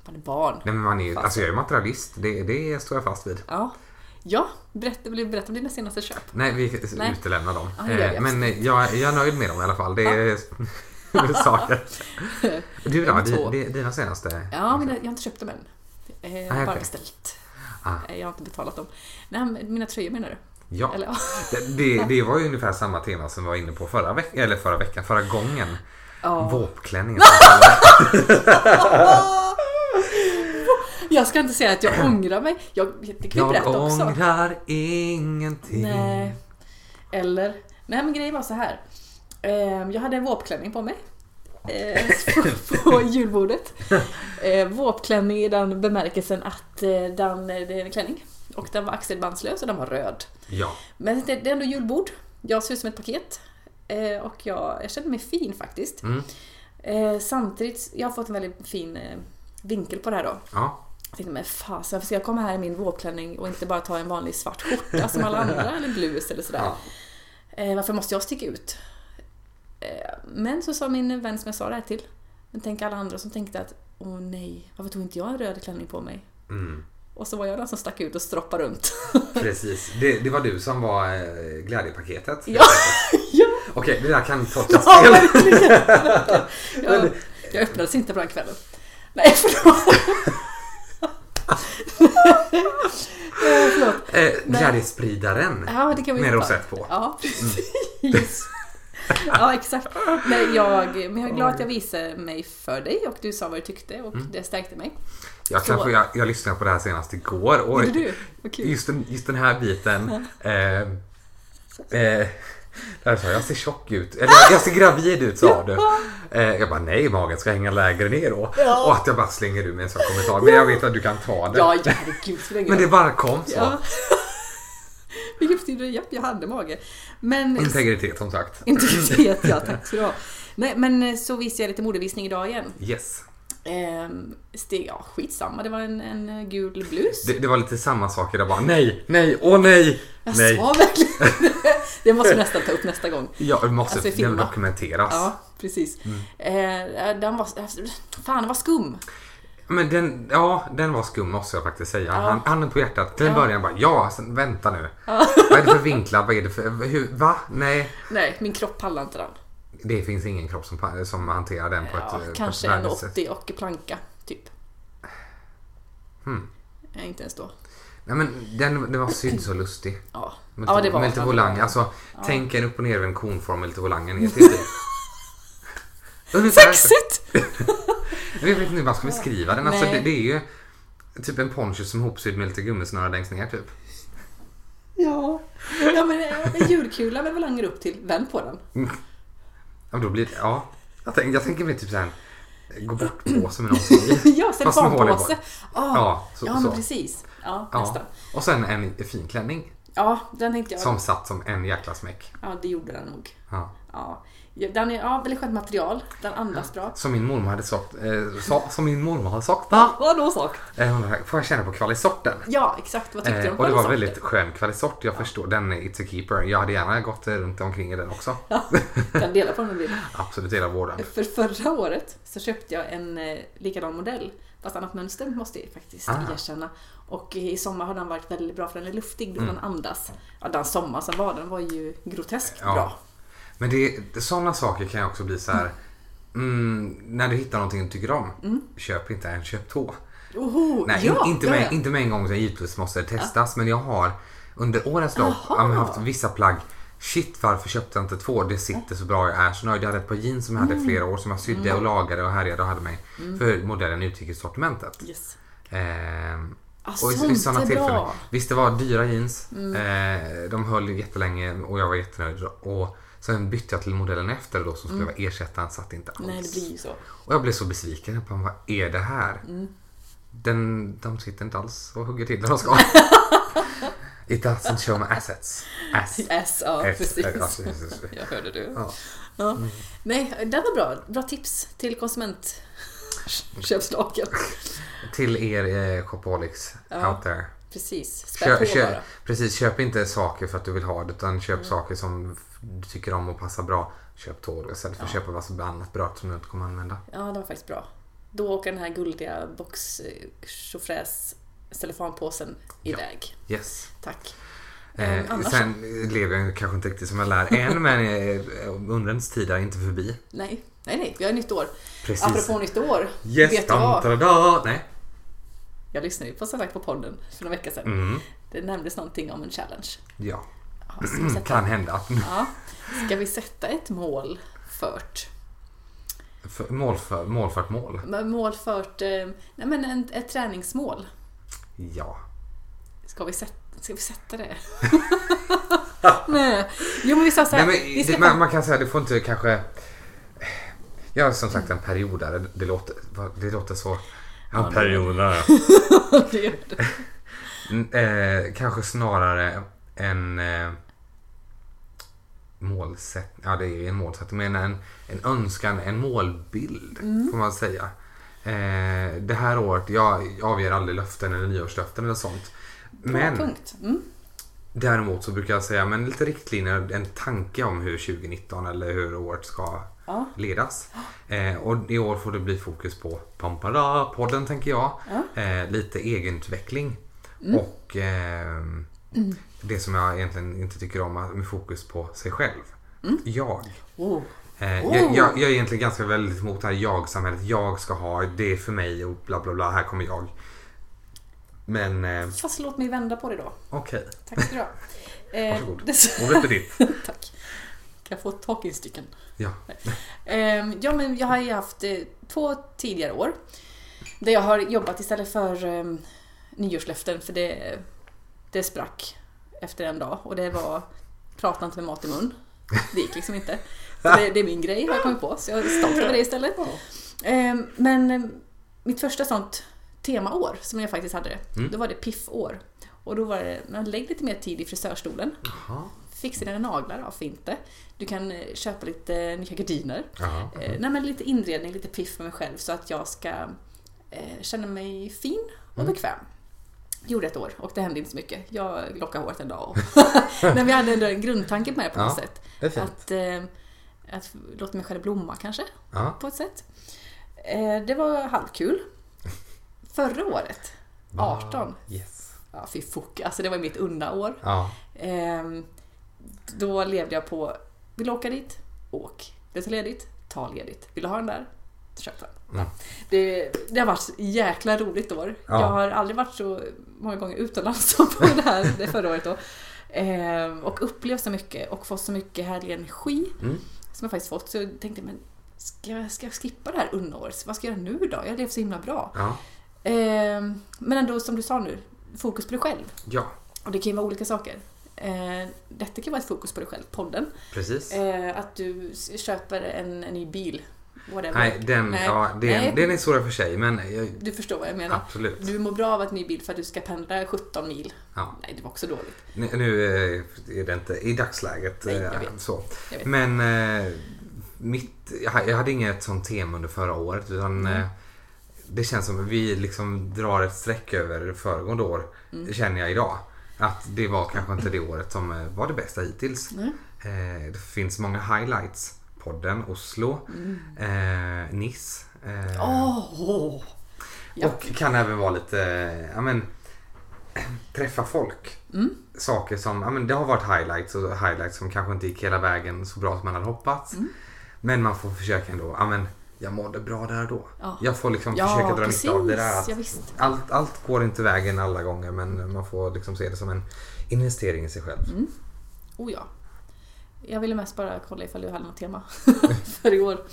S3: Man är barn.
S2: Nej men man är alltså jag är ju materialist, det, det står jag fast vid.
S3: Ja. Ja, berätta, vill du berätta om dina senaste köp.
S2: Nej, vi
S3: Nej.
S2: utelämnar dem.
S3: Ja, det gör vi
S2: Eh, men eh, jag, jag är nöjd med dem i alla fall. Det är saker. Du då,
S3: Nummer
S2: di,
S3: två.
S2: di, dina senaste?
S3: Ja, men jag har inte köpt dem än. Eh,
S2: Nej,
S3: bara
S2: okej.
S3: beställt.
S2: Ah.
S3: Eh, Jag har inte betalat dem. Nej, men mina tröjor menar du?
S2: Ja.
S3: Eller ja.
S2: Det- Det, det var ju ungefär samma tema som vi var inne på förra veckan, eller förra veckan, förra gången.
S3: Ja.
S2: Våpklänningen.
S3: Jag ska inte säga att jag ångrar mig. Jag, det kan ju
S2: Jag
S3: berätta också.
S2: ångrar ingenting.
S3: Nej. Eller? Nej men grejen var så här. Ehm, Jag hade en våpklänning på mig. eh, på- På Ehm, julbordet. Eh, Våpklänning i den bemärkelsen att eh, den, det är en klänning Och den var axelbandslös och den var röd.
S2: Ja.
S3: Men det, det är ändå julbord. Jag ser ut som ett paket. Eh, och jag, jag känner mig fin faktiskt.
S2: Mm.
S3: Eh, samtidigt, jag har fått en väldigt fin eh, vinkel på det här då.
S2: Ja.
S3: Jag tänkte, men fasen varför ska jag komma här i min vårklänning och inte bara ta en vanlig svart skjorta som alla andra eller blus eller sådär.
S2: Ja.
S3: Eh, varför måste jag sticka ut? Eh, men så sa min vän som jag sa det här till. Men tänk alla andra som tänkte att åh nej, varför tog inte jag en röd klänning på mig?
S2: Mm.
S3: Och så var jag den som stack ut och stroppade runt.
S2: Precis. Det, det var du som var eh, glädjepaketet.
S3: ja, ja,
S2: Okej, det där kan Eh, tolkas
S3: ja,
S2: fel.
S3: verkligen. Jag, jag öppnades inte på den kvällen. Nej, förlåt. Eh, förlåt.
S2: Eh, glädjespridaren.
S3: Ja, det kan vi
S2: Med
S3: ta.
S2: rosett på. Mm.
S3: Ja, precis. ja, exakt. Nej, jag, men jag är glad att jag visade mig för dig och du sa vad du tyckte och
S2: Mm.
S3: det stärkte mig.
S2: Jag, kan
S3: Så-
S2: få, jag, jag lyssnade på det här senast igår. Och
S3: Gjorde du? Vad kul.
S2: Just, den, just den här biten. Eh, eh, där sa jag, jag ser tjock ut. Eller jag- jag ser gravid ut sa du. Eh, jag bara nej, magen ska hänga lägre ner då.
S3: Ja.
S2: Och att jag bara slänger ur mig en sån kommentar. Men jag vet att du kan ta det.
S3: Ja, herregud. så länge
S2: Men det
S3: jag-
S2: bara kom så.
S3: Ja. Vilket betyder, japp, jag hade mage. Men
S2: Integritet som sagt.
S3: integritet, ja tack så du ha. Nej, men eh, så visade jag lite modevisning idag igen.
S2: Yes.
S3: Ehm, steg, ja skitsamma, det var en, en gul blus.
S2: Det, det var lite samma sak idag bara. Nej, nej, åh nej.
S3: jag
S2: nej.
S3: sa verkligen det. måste vi nästan ta upp nästa gång.
S2: Ja, det måste
S3: Alltså,
S2: det
S3: filma.
S2: dokumenteras.
S3: Ja, precis. Eh, den var, fan, den var skum.
S2: Men den, ja, den var skum måste jag faktiskt säga. Han, handen på hjärtat. Till en
S3: Ja.
S2: början bara ja, sen, vänta nu. Vad är det för vinklar? Vad är det för, hur, va? Nej.
S3: Nej, min kropp pallar inte den.
S2: Det finns ingen kropp som, som hanterar den på ett, eh,
S3: Ja,
S2: på ett
S3: kanske en
S2: värdigt sätt.
S3: 80 och planka, typ. Nej, inte ens då.
S2: Nej men den, den var sydd så lustig.
S3: Ja,
S2: Med,
S3: ja det var
S2: med lite
S3: fan-
S2: volang. Alltså, tänk en upp och ner en konform med lite volangen ner till typ. Ungefär.
S3: Sexigt!
S2: Jag vet inte hur man ska beskriva den. Alltså,
S3: Nej.
S2: det, det är ju typ en poncho som är hopsydd med lite gummisnöre längst ner typ.
S3: Ja. ja, men eh, en julkula med volanger upp till. Vänd på den.
S2: Ja, men då blir det, ja. Jag, tänk, jag tänker mig typ såhär, gå bort på som är någonting i.
S3: Ja, sen
S2: Mm. Fast med
S3: barnpåse.
S2: hål i
S3: Ah,
S2: Ja, så.
S3: ja, men
S2: så.
S3: precis. Ja, nästan.
S2: Ja. Och sen en fin klänning
S3: Ja, den tänkte jag.
S2: som satt som en jäkla smäck.
S3: Ja, det gjorde den nog.
S2: Ja.
S3: Ja. Ja, Den är, ja, väldigt skönt material. Den andas bra.
S2: Som min mormor hade sagt, eh, sa, som min mormor hade sagt. Va?
S3: Vadå sak?
S2: Eh, hon bara, får jag känna på kvalisorten?
S3: Ja, exakt. Vad tyckte du
S2: Eh,
S3: om
S2: och det var
S3: kvalsorten?
S2: väldigt skön kvalisort, jag förstår. Den är It's a keeper. Jag hade gärna gått eh, runt omkring i den också.
S3: Kan dela på den om du vill.
S2: Absolut hela vården.
S3: För förra året så köpte jag en eh, likadan modell, fast annat mönster måste jag faktiskt
S2: Ah.
S3: erkänna. Och i sommar har den varit väldigt bra för den är luftig, då
S2: Mm.
S3: den andas. Ja, den sommar som var, den var ju groteskt
S2: Ja.
S3: bra.
S2: Men det, sådana saker kan jag också bli så här. Mm, när du hittar någonting du tycker om,
S3: Mm.
S2: köp inte en, köp två.
S3: Oho,
S2: Nej,
S3: ja,
S2: in, inte,
S3: ja,
S2: med,
S3: ja.
S2: inte med en gång. Så givetvis måste det testas. Men jag har under årens lopp
S3: Jaha.
S2: ja, men haft vissa plagg. Shit, varför köpte jag inte två? Det sitter så bra. Jag är så nöjd. Jag hade ett par jeans som jag
S3: Mm.
S2: hade i flera år som jag sydde och lagade och härjade och hade mig. För modellen utgick i sortimentet.
S3: Yes.
S2: Ehm,
S3: Ah,
S2: och i- i
S3: sånt
S2: såna
S3: är bra. Mm.
S2: Visst, det var dyra jeans. Eh, de höll jättelänge och jag var jättenöjd. Och sen bytte jag till modellen efter då som skulle vara ersättaren. Satt inte alls.
S3: Mm. Nej, det blir ju så.
S2: Och jag blev så besviken. Jag bara, vad är det här?
S3: Mm.
S2: Den, de sitter inte alls och hugger till när de ska. It doesn't show my assets. Ass.
S3: Yes, ja,
S2: Yes,
S3: precis.
S2: ja, precis, precis.
S3: Jag hörde du.
S2: eh, alltså. Ja. Mm.
S3: Ja. Nej, det var bra. Bra tips till
S2: Mm.
S3: konsumentköpslagen.
S2: Till er eh, shopaholics
S3: Ja.
S2: out there.
S3: Precis, spä
S2: Kö,
S3: på
S2: kö,
S3: bara. Mm.
S2: precis, köp inte saker för att du vill ha det utan köp saker som f- du tycker om och passar bra. Köp tåg istället för att köpa massa annat bröd som du inte kommer använda.
S3: Ja, det var faktiskt bra. Då åker den här guldiga box chaufförs cellofanpåsen iväg.
S2: Yes.
S3: Tack.
S2: Eh,
S3: Mm, annars-
S2: sen lever jag ju kanske inte riktigt som jag lär än men eh, undrens tid är inte förbi.
S3: Nej, nej, nej. Vi har nytt år.
S2: Precis.
S3: Apropå nytt år.
S2: Yes,
S3: vet du
S2: dun,
S3: vad?
S2: dun, dun. Nej.
S3: Jag lyssnade ju på, som sagt, på podden för några veckor sedan.
S2: Mm.
S3: Det nämndes någonting om en challenge.
S2: Ja, Mm,
S3: Ja, ska, vi sätta,
S2: kan hända.
S3: ja, ska vi sätta ett mål fört?
S2: För- Mål för, mål för ett mål.
S3: Men Mål fört, eh, nej men en, ett träningsmål.
S2: Ja.
S3: Ska vi sätta, ska vi sätta det? nej. Jo men vi sa såhär.
S2: Nej, men,
S3: vi ska
S2: det, man, man kan säga, du får inte kanske... Jag är som sagt en periodare. Det låter, vad- det låter så... En periodare.
S3: fan- det gör det.
S2: N- Eh, kanske snarare en eh, målsättning. Ja, det är ju en målsättning. Men en, en önskan, en målbild
S3: Mm.
S2: får man säga. Eh, det här året, jag avger aldrig löften eller nyårslöften eller sånt.
S3: Bra
S2: Men
S3: punkt. Mm.
S2: däremot så brukar jag säga men lite riktlinjer, en tanke om hur 2019 eller hur året ska
S3: Ja.
S2: ledas. Eh, och i år får det bli fokus på Pampara-podden tänker jag. Eh, lite egenutveckling.
S3: Mm.
S2: Och ehm, det som jag egentligen inte tycker om att- med fokus på sig själv. Jag.
S3: Oh.
S2: Eh,
S3: Mm. Oh.
S2: jag, jag. Jag är egentligen ganska väldigt emot det här jag-samhället. Jag ska ha, det är för mig och bla bla bla, här kommer jag. Men eh,
S3: Fast låt mig vända på det då.
S2: okej,
S3: Tack ska du ha. Eh,
S2: Varsågod.
S3: dess-
S2: ordet är ditt.
S3: Tack. Kan jag få talking-stycken?
S2: Ja.
S3: Ehm, ja, men jag har ju haft eh, två tidigare år där jag har jobbat istället för um, nyårslöften för det, det sprack efter en dag och det var prata inte med mat i mun. Det gick liksom inte. Så det, det är min grej har jag kommit på så jag är stolt över det istället. Ehm, men eh, mitt första sånt temaår som jag faktiskt hade det, då var det piffår. Och då var det, men lägg lite mer tid i frisörstolen.
S2: Jaha.
S3: Fixa dina naglar, varför inte? Du kan eh, köpa lite nya gardiner.
S2: Jaha.
S3: Eh, nej, men lite inredning, lite piff med mig själv så att jag ska eh, känna mig fin och
S2: Mm.
S3: bekväm. Gjorde ett år och det hände inte så mycket. Jag lockade håret en dag. Och men vi hade ändå en grundtanke med det på
S2: Ja,
S3: något sätt.
S2: det är fint.
S3: Att, eh, att låta mig själv blomma kanske,
S2: Ja.
S3: på ett sätt. Eh, det var halvkul. Förra året, 18,
S2: Yes.
S3: ja, fy fuck, alltså det var mitt unna år.
S2: Ja.
S3: Ehm, då levde jag på, vill du åka dit? Åk. Vill du ta ledigt? Ta ledigt. Vill du ha den där? Köp den.
S2: Mm.
S3: Det, det har varit jäkla roligt år.
S2: Ja.
S3: Jag har aldrig varit så många gånger utomlands som på det här det förra året. Då. Ehm, och upplevt så mycket och fått så mycket härlig energi
S2: Mm.
S3: som jag faktiskt fått. Så jag tänkte, men ska, jag- ska jag skippa det här underåret? Vad ska jag göra nu då? Jag lever så himla bra.
S2: Ja.
S3: Ehm, men ändå som du sa nu, fokus på dig själv.
S2: Ja.
S3: Och det kan ju vara olika saker. Eh, detta kan vara ett fokus på dig själv, podden.
S2: Precis.
S3: Eh, att du s- köper en, en ny bil. Whatever.
S2: Nej, den,
S3: Nej.
S2: Ja, den,
S3: Nej.
S2: den är svårare för sig. Men jag,
S3: Du förstår vad jag menar.
S2: absolut.
S3: Du mår bra av att ny bil för att du ska pendla 17 mil.
S2: Ja.
S3: Nej, det var också dåligt.
S2: Nu- Nu eh, är det inte i dagsläget
S3: Nej,
S2: eh,
S3: jag vet.
S2: så.
S3: Jag vet.
S2: Men eh, mitt, jag ha- jag hade inget sånt tema under förra året utan
S3: Mm.
S2: eh, det känns som att vi liksom drar ett streck över föregående år
S3: Mm.
S2: känner jag idag. Att det var kanske inte det året som eh, var det bästa hittills.
S3: Nej.
S2: Eh, det finns många highlights. Podden, Oslo, eh, Nice. eh,
S3: Mm. Åh! Ja.
S2: och kan även vara lite, eh, ja men träffa folk.
S3: Mm.
S2: Saker som, ja men det har varit highlights och highlights som kanske inte gick hela vägen så bra som man hade hoppats.
S3: Mm.
S2: Men man får försöka ändå, ja men jag mådde bra där och då.
S3: Ja.
S2: Jag får liksom
S3: Ja,
S2: försöka dra
S3: precis.
S2: nytta av det där. Att
S3: Ja, visst.
S2: allt, allt går inte vägen alla gånger men man får liksom se det som en investering i sig själv.
S3: Oh ja. Jag ville mest bara kolla ifall du hade något tema för i år.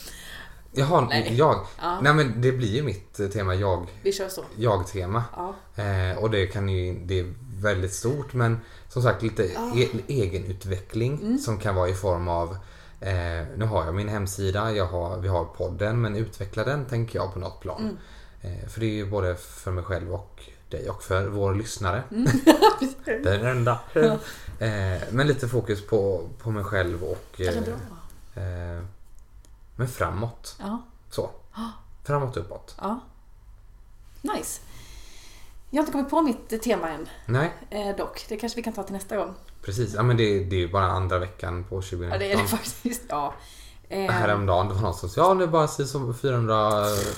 S2: Jaha,
S3: Nej.
S2: jag.
S3: Ja.
S2: Nej men det blir ju mitt eh, tema, jag,
S3: Vi kör så.
S2: jag-tema.
S3: Ja.
S2: Eh, och det, kan ju, det är väldigt stort men som sagt lite
S3: Ah.
S2: e- egenutveckling
S3: Mm.
S2: som kan vara i form av eh, Nu har jag min hemsida, jag har, vi har podden men utveckla den tänker jag på något
S3: Mm.
S2: plan. Eh, för det är ju både för mig själv och dig och för vår lyssnare.
S3: Mm.
S2: Den enda. eh, men lite fokus på, på mig själv och
S3: Ja, det
S2: eh,
S3: är bra.
S2: eh, Men framåt.
S3: Ja.
S2: Så.
S3: Ah.
S2: Framåt uppåt.
S3: ja. Nice. Jag har inte kommit på mitt eh, tema än
S2: Nej.
S3: eh, dock. Det kanske vi kan ta till nästa gång.
S2: Precis, ja, men det, det är ju bara andra veckan på 2019.
S3: Ja, det är det faktiskt. Ja. Eh,
S2: Häromdagen det var någon som sa ja nu bara si som 400,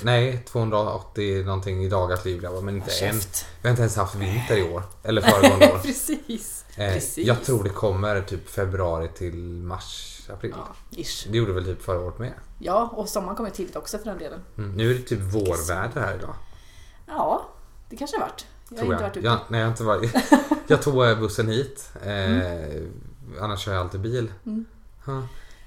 S2: nej 280 någonting i dagar till julgrabbar men inte
S3: Käft.
S2: än. Vi har inte ens haft vinter i år. Eller föregående år.
S3: Precis.
S2: Eh,
S3: Precis.
S2: Jag tror det kommer typ februari till mars, april.
S3: Ja, ish.
S2: Det gjorde väl typ förra året med.
S3: ja, och sommaren kommer tidigt också för den delen.
S2: Mm. Nu är det typ vårväder här idag.
S3: Ja, det kanske har varit. Jag har
S2: Tror
S3: inte
S2: jag.
S3: varit ute.
S2: jag, nej, jag, har inte varit, jag tog eh, bussen hit. Eh,
S3: Mm.
S2: Annars kör jag alltid bil. Ja.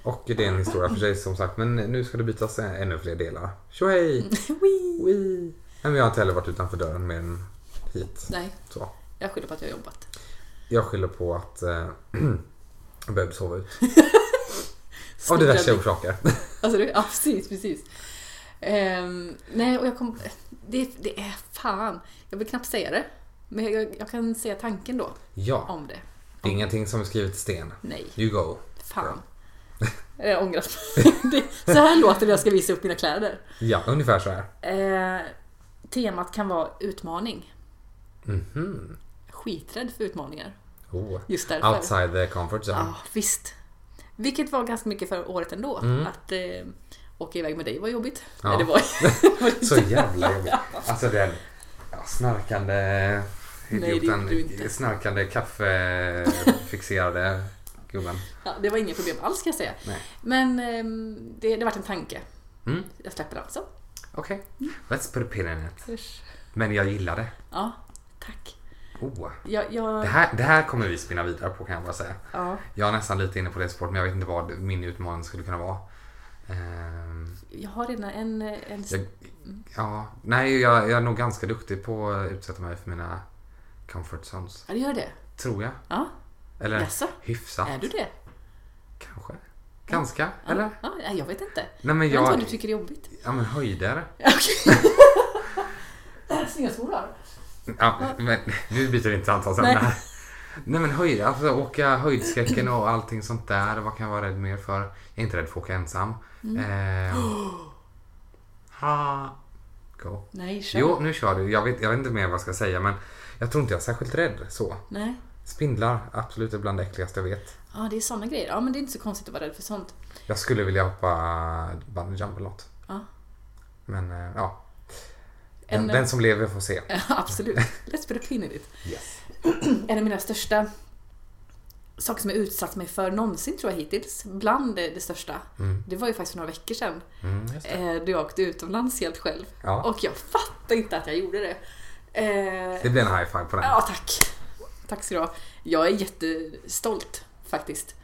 S2: Och det är en historia för sig som sagt. Men nu ska det bytas eh, ännu fler delar. Tjohej!
S3: Wee.
S2: Oui. Nej, men jag har inte heller varit utanför dörren mer än hit.
S3: Nej,
S2: Så.
S3: jag skyller på att jag har jobbat.
S2: Jag skyller på att eh, jag behövde sova ut. Av diverse orsaker.
S3: Alltså, det, ja, precis, precis. Ehm, nej, och jag kom... Det, det är fan. Jag vill knappt säga det. Men jag, jag kan säga tanken då
S2: Ja,
S3: om det.
S2: det är ingenting som är skrivet i sten.
S3: Nej,
S2: You go.
S3: fan. Jag ångrar mig. Det- Så här låter det när jag ska visa upp mina kläder.
S2: Ja, ungefär så här.
S3: Eh, temat kan vara utmaning.
S2: Mhm.
S3: Skiträdd för utmaningar.
S2: Oh.
S3: Just därför.
S2: Outside the comfort
S3: Ja,
S2: zone.
S3: visst. Vilket var ganska mycket för året ändå. Att eh, åka iväg med dig var jobbigt.
S2: Mm. Ja.
S3: Nej, det var
S2: Så jävla jobbigt. Alltså den ja, snarkande
S3: Nej,
S2: idioten.
S3: det är du inte.
S2: snarkande kaffefixerade gubben.
S3: ja, det var inga problem alls kan jag säga.
S2: Nej.
S3: Men ehm, det, det var en tanke.
S2: Mm.
S3: Jag släpper den alltså.
S2: Okej, let's put a pin in it. Men jag gillar det.
S3: Ja, tack.
S2: Oh.
S3: Jag, jag,
S2: Det, här, det här kommer vi spinna vidare på kan jag bara säga.
S3: ja,
S2: Jag är nästan lite inne på det spåret men jag vet inte vad min utmaning skulle kunna vara. Ehm,
S3: jag har redan en... en
S2: jag, ja, nej, jag, jag är nog ganska duktig på att utsätta mig för mina comfort zones.
S3: Ja, du gör det?
S2: Tror jag.
S3: Ja,
S2: Eller
S3: Jaså?
S2: hyfsat.
S3: är du det?
S2: Kanske. Ganska, eller?
S3: Ja, nej, jag vet inte.
S2: Nej men
S3: Jag vet inte vad
S2: jag...
S3: du tycker är jobbigt.
S2: Ja men höjder.
S3: Snöskolar?
S2: Ja, men, nu byter vi inte
S3: Nej.
S2: samtalsämne här. Nej men höjder, alltså åka höjdskräcken och allting sånt där. Vad kan jag vara rädd mer för? Jag är inte rädd för att åka ensam.
S3: Mm.
S2: Ehm, ha. Go.
S3: Nej, kör.
S2: Jo, nu kör du. Jag vet, jag vet inte mer vad jag ska säga men jag tror inte jag är särskilt rädd så.
S3: Nej.
S2: Spindlar, absolut är bland det äckligaste jag vet.
S3: Ja, det är sådana grejer. Ja, men det är inte så konstigt att vara rädd för sånt.
S2: Jag skulle vilja hoppa bungee jump eller något.
S3: Ja.
S2: Men eh, ja. Den,
S3: En-
S2: den som lever får se.
S3: Ja, absolut. Let's put a pin in it.
S2: Yes.
S3: En av mina största saker som jag utsatt mig för någonsin tror jag hittills, bland det, det största, det var ju faktiskt för några veckor sedan.
S2: Mm, just det.
S3: Eh, då jag åkte utomlands helt själv.
S2: Ja.
S3: Och jag fattade inte att jag gjorde det. Eh,
S2: Det blir en high five på den.
S3: ja, tack. Tack ska du ha. Jag är jättestolt faktiskt.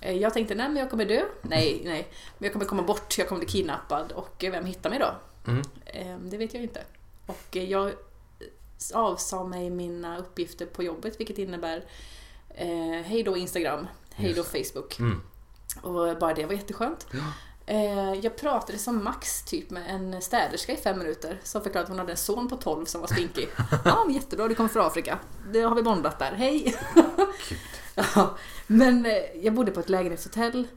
S3: Eh, jag tänkte, nej men jag kommer dö. Nej, nej. Men jag kommer komma bort, jag kommer bli kidnappad och eh, vem hittar mig då?
S2: Mm.
S3: Eh, det vet jag inte. Och eh, jag avsa mig mina uppgifter på jobbet vilket innebär eh, hej då Instagram, hej då Facebook.
S2: Mm.
S3: Och bara det var jätteskönt. Eh, jag pratade som max typ med en städerska i fem minuter som förklarade att hon hade en son på 12 som var spinkig. ja, men jättebra, du kommer från Afrika. Det har vi bondat där, hej! ja, men eh, jag bodde på ett lägenhetshotell.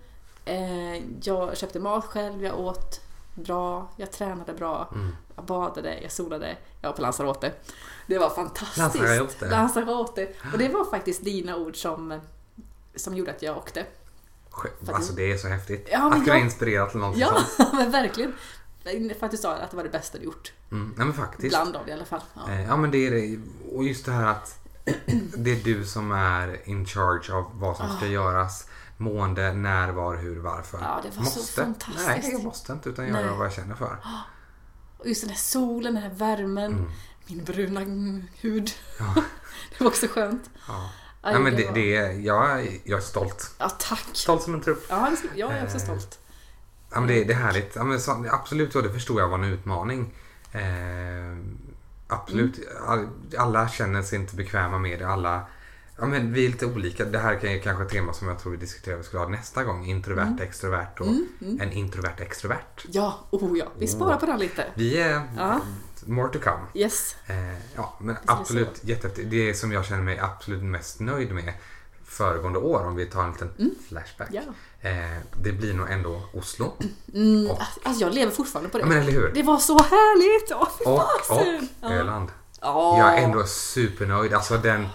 S3: Eh, jag köpte mat själv, jag åt bra, jag tränade bra,
S2: Mm.
S3: jag badade, jag solade, jag var på Lanzarote. Det var fantastiskt.
S2: Lanzarote.
S3: Lanzarote. Och det var faktiskt dina ord som, som gjorde att jag åkte.
S2: Sk- Alltså det är så häftigt.
S3: Ja, men
S2: att kunna
S3: jag-
S2: inspirera till någonting
S3: Ja,
S2: sånt.
S3: men verkligen. För att du sa att det var det bästa du gjort.
S2: Mm. Nej men faktiskt.
S3: Bland av det i alla fall. Ja.
S2: Eh, Ja men det är det. Och just det här att det är du som är in charge av vad som ska göras. Mående, när, var, hur, varför.
S3: Ah. Ja, det var så fantastiskt.
S2: Nej, jag måste inte utan jag gör
S3: Nej.
S2: vad jag känner för.
S3: Och just den här solen, den här värmen, min bruna mm, hud.
S2: Ja.
S3: Det var också skönt.
S2: Ja.
S3: Aj,
S2: Nej, men
S3: det
S2: det,
S3: var-
S2: det är, jag, är- jag är stolt.
S3: Ja, tack.
S2: Stolt som en trupp.
S3: Ja, det ska- jag är också
S2: Eh.
S3: stolt.
S2: Ja, men det, det är härligt. Ja, men så, absolut, och det förstår jag var en utmaning. Eh, absolut. All- Alla känner sig inte bekväma med det. Alla, ja, men vi är lite olika. Det här kan ju kanske ett tema som jag tror vi diskuterar vi skulle ha nästa gång. Introvert,
S3: Mm.
S2: extrovert och en introvert, extrovert.
S3: Ja, oh ja. Vi sparar på den lite.
S2: Vi är
S3: Ja.
S2: more to come.
S3: Yes.
S2: Eh, ja, men
S3: är
S2: absolut jättehäftigt. Det är som jag känner mig absolut mest nöjd med föregående år om vi tar en liten flashback.
S3: Mm. Ja.
S2: Eh, det blir nog ändå Oslo.
S3: Mm,
S2: Och-
S3: alltså jag lever fortfarande på det.
S2: Ja, men eller hur?
S3: Det var så härligt! Åh, fy
S2: Och,
S3: fasen!
S2: och Öland.
S3: Ja.
S2: Jag är ändå supernöjd. Alltså den,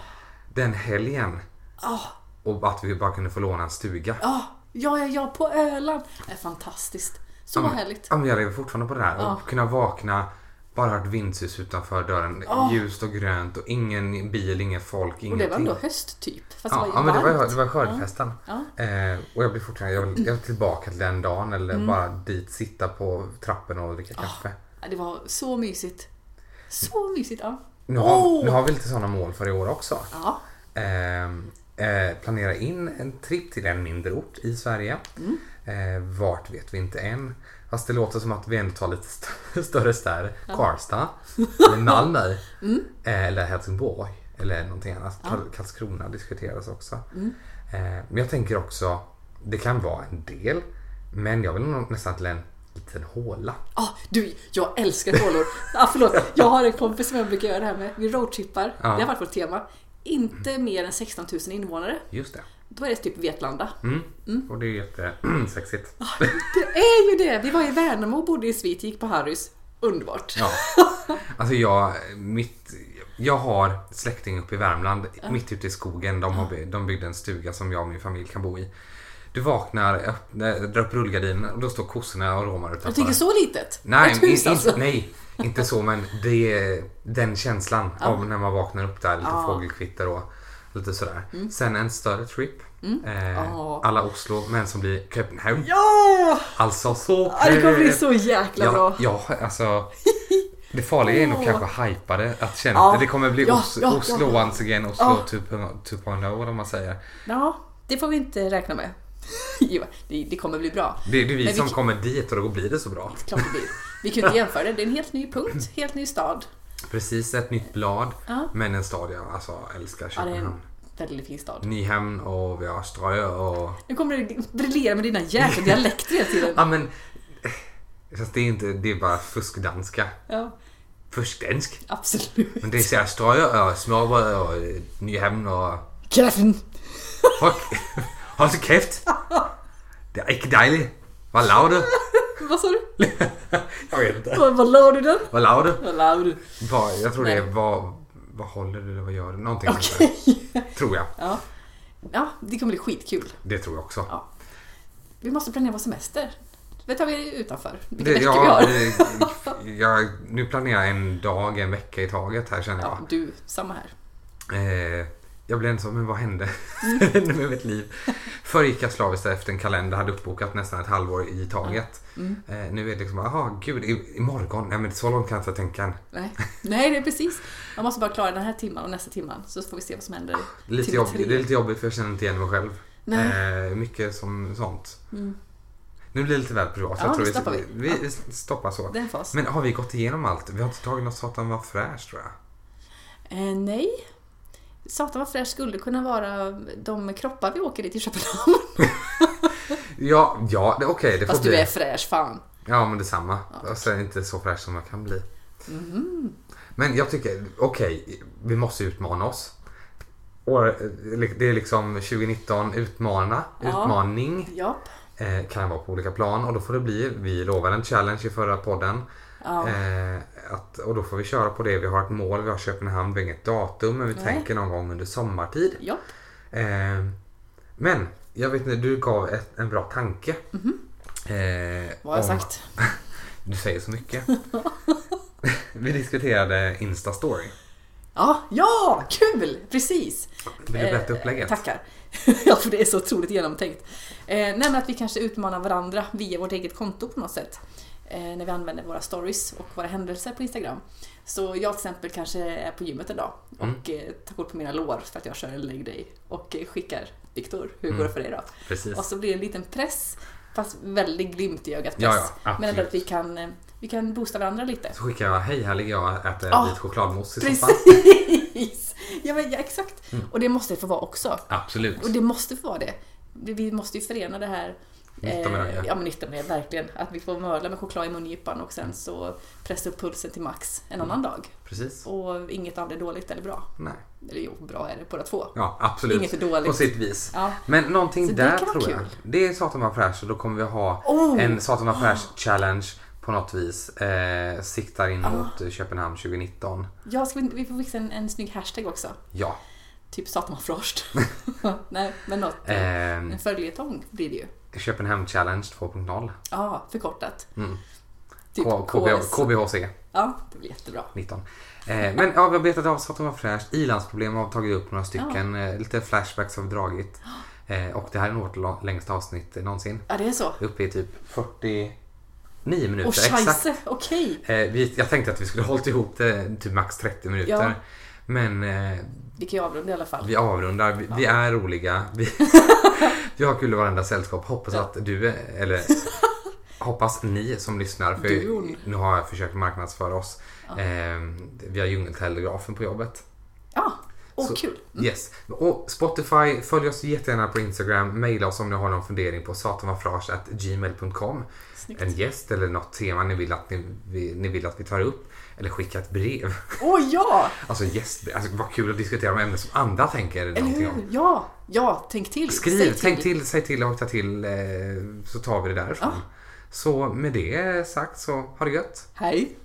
S2: den helgen
S3: Ja.
S2: och att vi bara kunde få låna en stuga.
S3: Ja, ja, ja, ja, på Öland. Det är fantastiskt. Så
S2: Ja, men-
S3: härligt.
S2: Ja, men jag lever fortfarande på det här.
S3: Ja.
S2: Och kunna vakna, bara ha ett vindsus utanför dörren.
S3: Ja.
S2: Ljust och grönt och ingen bil, ingen folk,
S3: Och det var
S2: ingenting.
S3: ändå höst typ. Fast
S2: Ja,
S3: det var
S2: ja
S3: ju
S2: men det var,
S3: varmt.
S2: det var skördfesten.
S3: Ja.
S2: Eh, och jag blir fortfarande, jag vill, jag vill tillbaka till den dagen eller
S3: Mm.
S2: bara dit sitta på trappen och
S3: Ah.
S2: dricka kaffe.
S3: Ja, det var så mysigt. Så mysigt, ja.
S2: Nu har,
S3: Åh!
S2: nu har vi lite sådana mål för i år också.
S3: Ja,
S2: Ehm, eh, planera in en tripp till en mindre ort i Sverige. Eh, vart vet vi inte än. Fast det låter som att vi ändå tar lite st- större städer. Karlstad, eller Malmö, eh, eller Helsingborg eller någonting annat. Kal- Karlskrona diskuteras också. Eh, men jag tänker också, det kan vara en del, men jag vill nog nästan till en lite liten håla.
S3: Ah, du, jag älskar hålor. Ah, förlåt, jag har en kompis som jag brukar göra det här med. Vi roadtrippar.
S2: Ja.
S3: Det har varit vårt tema. Inte mer än 16 000 invånare.
S2: Just det.
S3: Då är det typ Vetlanda. Ah,
S2: Mm. Och det är ju jättesexigt.
S3: Det är ju det! Vi var i Värnamo och bodde i svit, gick på Harrys. Underbart.
S2: Ja. Alltså jag, mitt, jag har släkting uppe i Värmland, mitt ute i skogen. De, har, by- de byggde en stuga som jag och min familj kan bo i. Du vaknar, öppnar, drar upp rullgardinen och då står kossorna och råmar utanför.
S3: Jag tycker så litet.
S2: Nej,
S3: Ett hus
S2: inte,
S3: alltså.
S2: nej, inte så men det är den känslan av när man vaknar upp där. Lite
S3: Ja. Mm.
S2: fågelkvitter och lite sådär. Sen en större trip. Eh,
S3: Ja.
S2: Alla Oslo men som blir Köpenhamn.
S3: Ja!
S2: Alltså så
S3: Ah, det kommer bli
S2: pepp.
S3: så jäkla
S2: ja,
S3: bra.
S2: ja, alltså. Det farliga är nog
S3: Åh.
S2: kanske hypade att känna
S3: Ja.
S2: att det kommer bli
S3: Ja,
S2: Os-
S3: ja, ja.
S2: Oslo once again, Oslo
S3: Ja.
S2: 2.0 2.0 om man säger.
S3: Ja, det får vi inte räkna med. Jo, det, det kommer bli bra.
S2: Det, det är vi
S3: Men vi
S2: som
S3: kan-
S2: kommer dit och då blir det så bra.
S3: Klart det blir. Vi kan ju inte jämföra det. Det är en helt ny punkt, helt ny stad.
S2: Precis ett nytt blad
S3: Ja.
S2: men en stad jag alltså älskar
S3: Ja, det är
S2: Köpenhamn.
S3: en väldigt fin stad.
S2: Nyhamn och vi har Ströö och...
S3: Nu kommer du briljera med dina jäkla dialekter hela tiden.
S2: Ja men... eh, Fast det är inte, det är bara fuskdanska.
S3: Ja,
S2: Fuskdansk.
S3: absolut.
S2: Men det är såhär Ströö och Smørbrød och eh, Nyhamn och...
S3: Kaffen!
S2: Fuck! Håll så käft! Det är inte dejligt. Vad la du?
S3: Vad sa du?
S2: Jag vet inte.
S3: Vad, vad la du den?
S2: Vad la du?
S3: Vad la du?
S2: Vad- Jag tror det är
S3: Nej.
S2: vad... Vad håller du eller vad gör du? Någonting sånt där.
S3: Okej.
S2: Tror jag.
S3: Ja. ja, det kommer bli skitkul.
S2: Det tror jag också.
S3: Ja. Vi måste planera vår semester. Det tar vi utanför. Vilka
S2: Det,
S3: veckor vi har.
S2: jag, eh, jag, nu planerar jag en dag, en vecka i taget här känner jag.
S3: Ja, du, samma här.
S2: Eh, jag blev ensam, men vad hände? Vad hände
S3: Mm.
S2: med mitt liv? Förr gick jag slaviskt efter en kalender, hade uppbokat nästan ett halvår i taget.
S3: Mm.
S2: Eh, nu är det liksom, aha gud, i- imorgon, nej men så långt kan jag inte tänka än.
S3: Nej. Nej, det är precis. Man måste bara klara den här timman och nästa timman så får vi se vad som händer.
S2: Det är Lite
S3: Timme
S2: jobb,
S3: Typ tre.
S2: det är lite jobbigt för jag känner inte igen mig själv.
S3: Nej.
S2: Eh, mycket som sånt.
S3: Mm.
S2: Nu blir det lite väl privat.
S3: Ja,
S2: jag tror
S3: nu stoppar vi.
S2: Vi, vi stoppar så.
S3: Det är en fas.
S2: Men har vi gått igenom allt? Vi har inte tagit något satan var fräscht tror jag.
S3: Eh, nej. Satan vad fräsch skulle kunna vara de kroppar vi åker i till Köpenhamn.
S2: Ja, ja det- okej det får
S3: Fast
S2: bli.
S3: du är fräsch, fan.
S2: Ja, men detsamma. Alltså, jag är inte så fräsch som jag kan bli.
S3: Mhm.
S2: Men jag tycker, okej, vi måste utmana oss. Och, eh, det är liksom 2019, utmana,
S3: Ja.
S2: utmaning.
S3: Japp.
S2: Eh, kan vara på olika plan och då får det bli, vi lovade en challenge i förra podden.
S3: Ja.
S2: Eh, att, och då får vi köra på det. Vi har ett mål, vi har Köpenhamn, vi har inget datum men vi
S3: Nej.
S2: tänker någon gång under sommartid.
S3: Japp.
S2: Eh, men, jag vet inte, du gav ett, en bra tanke. Eh,
S3: Mhm. Vad har jag
S2: om-
S3: sagt?
S2: du säger så mycket. Vi diskuterade Insta-story.
S3: Ja, ja, kul! Precis. Eh,
S2: Vill du berätta upplägget?
S3: Tackar. ja, för det är så otroligt genomtänkt. Eh, nej, men att vi kanske utmanar varandra via vårt eget konto på något sätt. Eh, när vi använder våra stories och våra händelser på Instagram. Så jag till exempel kanske är på gymmet en dag
S2: Mm,
S3: och eh, tar kort på mina lår för att jag kör en leg day och eh, skickar Viktor, hur
S2: Mm.
S3: går det för dig då?
S2: Precis.
S3: Och så blir det en liten press, fast väldigt glimt i ögat
S2: Ja, ja,
S3: press. men ändå
S2: absolut.
S3: att vi kan, eh, vi kan boosta varandra lite.
S2: Så skickar jag, hej här ligger jag och äter
S3: Ja,
S2: vit chokladmousse i soffan.
S3: Precis! Ja, men, ja, exakt.
S2: Mm.
S3: Och det måste det få vara också.
S2: Absolut.
S3: Och det måste få vara det. Vi vi måste ju förena det här eh,
S2: Nytta med nöje.
S3: ja men nytta med det, verkligen. Att vi får möla med choklad i mungipan och
S2: Mm.
S3: sen så pressa upp pulsen till max en annan dag.
S2: Precis.
S3: Och inget av det är dåligt eller bra.
S2: Nej.
S3: Eller jo, bra är det båda två.
S2: Ja, absolut.
S3: Inget är dåligt.
S2: På sitt vis.
S3: Ja.
S2: Men någonting
S3: Så det
S2: där
S3: kan vara
S2: tror jag.
S3: kul.
S2: Det är Satan var fräsch och då kommer vi ha
S3: Oh.
S2: en Satan var fräsch challenge på något vis. Eh, siktar
S3: Ah.
S2: in mot eh, Köpenhamn 2019.
S3: Ja, ska vi, vi får fixa en, en snygg hashtag också.
S2: Ja.
S3: Typ Satanfrost. Nej, men något.
S2: Eh,
S3: En följetong blir det ju.
S2: Köpenhamn challenge 2.0.
S3: Ja, förkortat. Typ
S2: Mm. K-
S3: KS.
S2: KBH- KBHC.
S3: Ja, det blir jättebra.
S2: 19. Eh, men ja, vi har betat av så att de var fräscht. I-landsproblem har vi tagit upp några stycken.
S3: Ah.
S2: Eh, lite flashbacks har vi dragit. Eh, och det här är nog vårt la- längsta avsnitt någonsin.
S3: Ja, det är så.
S2: Uppe i typ 49 minuter.
S3: Och
S2: exakt.
S3: scheisse, okej.
S2: Eh, vi, jag tänkte att vi skulle hållit ihop det till max 30 minuter.
S3: Ja.
S2: Men eh,
S3: Vi kan ju avrunda i alla fall.
S2: vi avrundar. Vi, vi är roliga. Vi, vi har kul i varandra sällskap. Hoppas att du, eh, eller hoppas ni som lyssnar. För
S3: Duon.
S2: nu har Ehm, jag försökt marknadsföra oss. Eh, vi har djungeltelegrafen på jobbet.
S3: Ja, Åh,
S2: Så-
S3: kul!
S2: Yes. Och Spotify, följ oss jättegärna på Instagram. Mejla oss om ni har någon fundering på satanvarfrage.gmail.com.
S3: Snyggt.
S2: En gäst eller något tema ni vill att, ni, vi, ni vill att vi tar upp. Eller skicka ett brev.
S3: Åh ja!
S2: Alltså gäst, alltså, vad kul att diskutera om ämnen som andra tänker
S3: Eller
S2: någonting
S3: hur?
S2: om.
S3: Ja, ja, tänk till.
S2: Skriv,
S3: Säg
S2: tänk till, säg till och ta till eh, så tar vi det därifrån. Så med det sagt så ha det gött.
S3: Hej!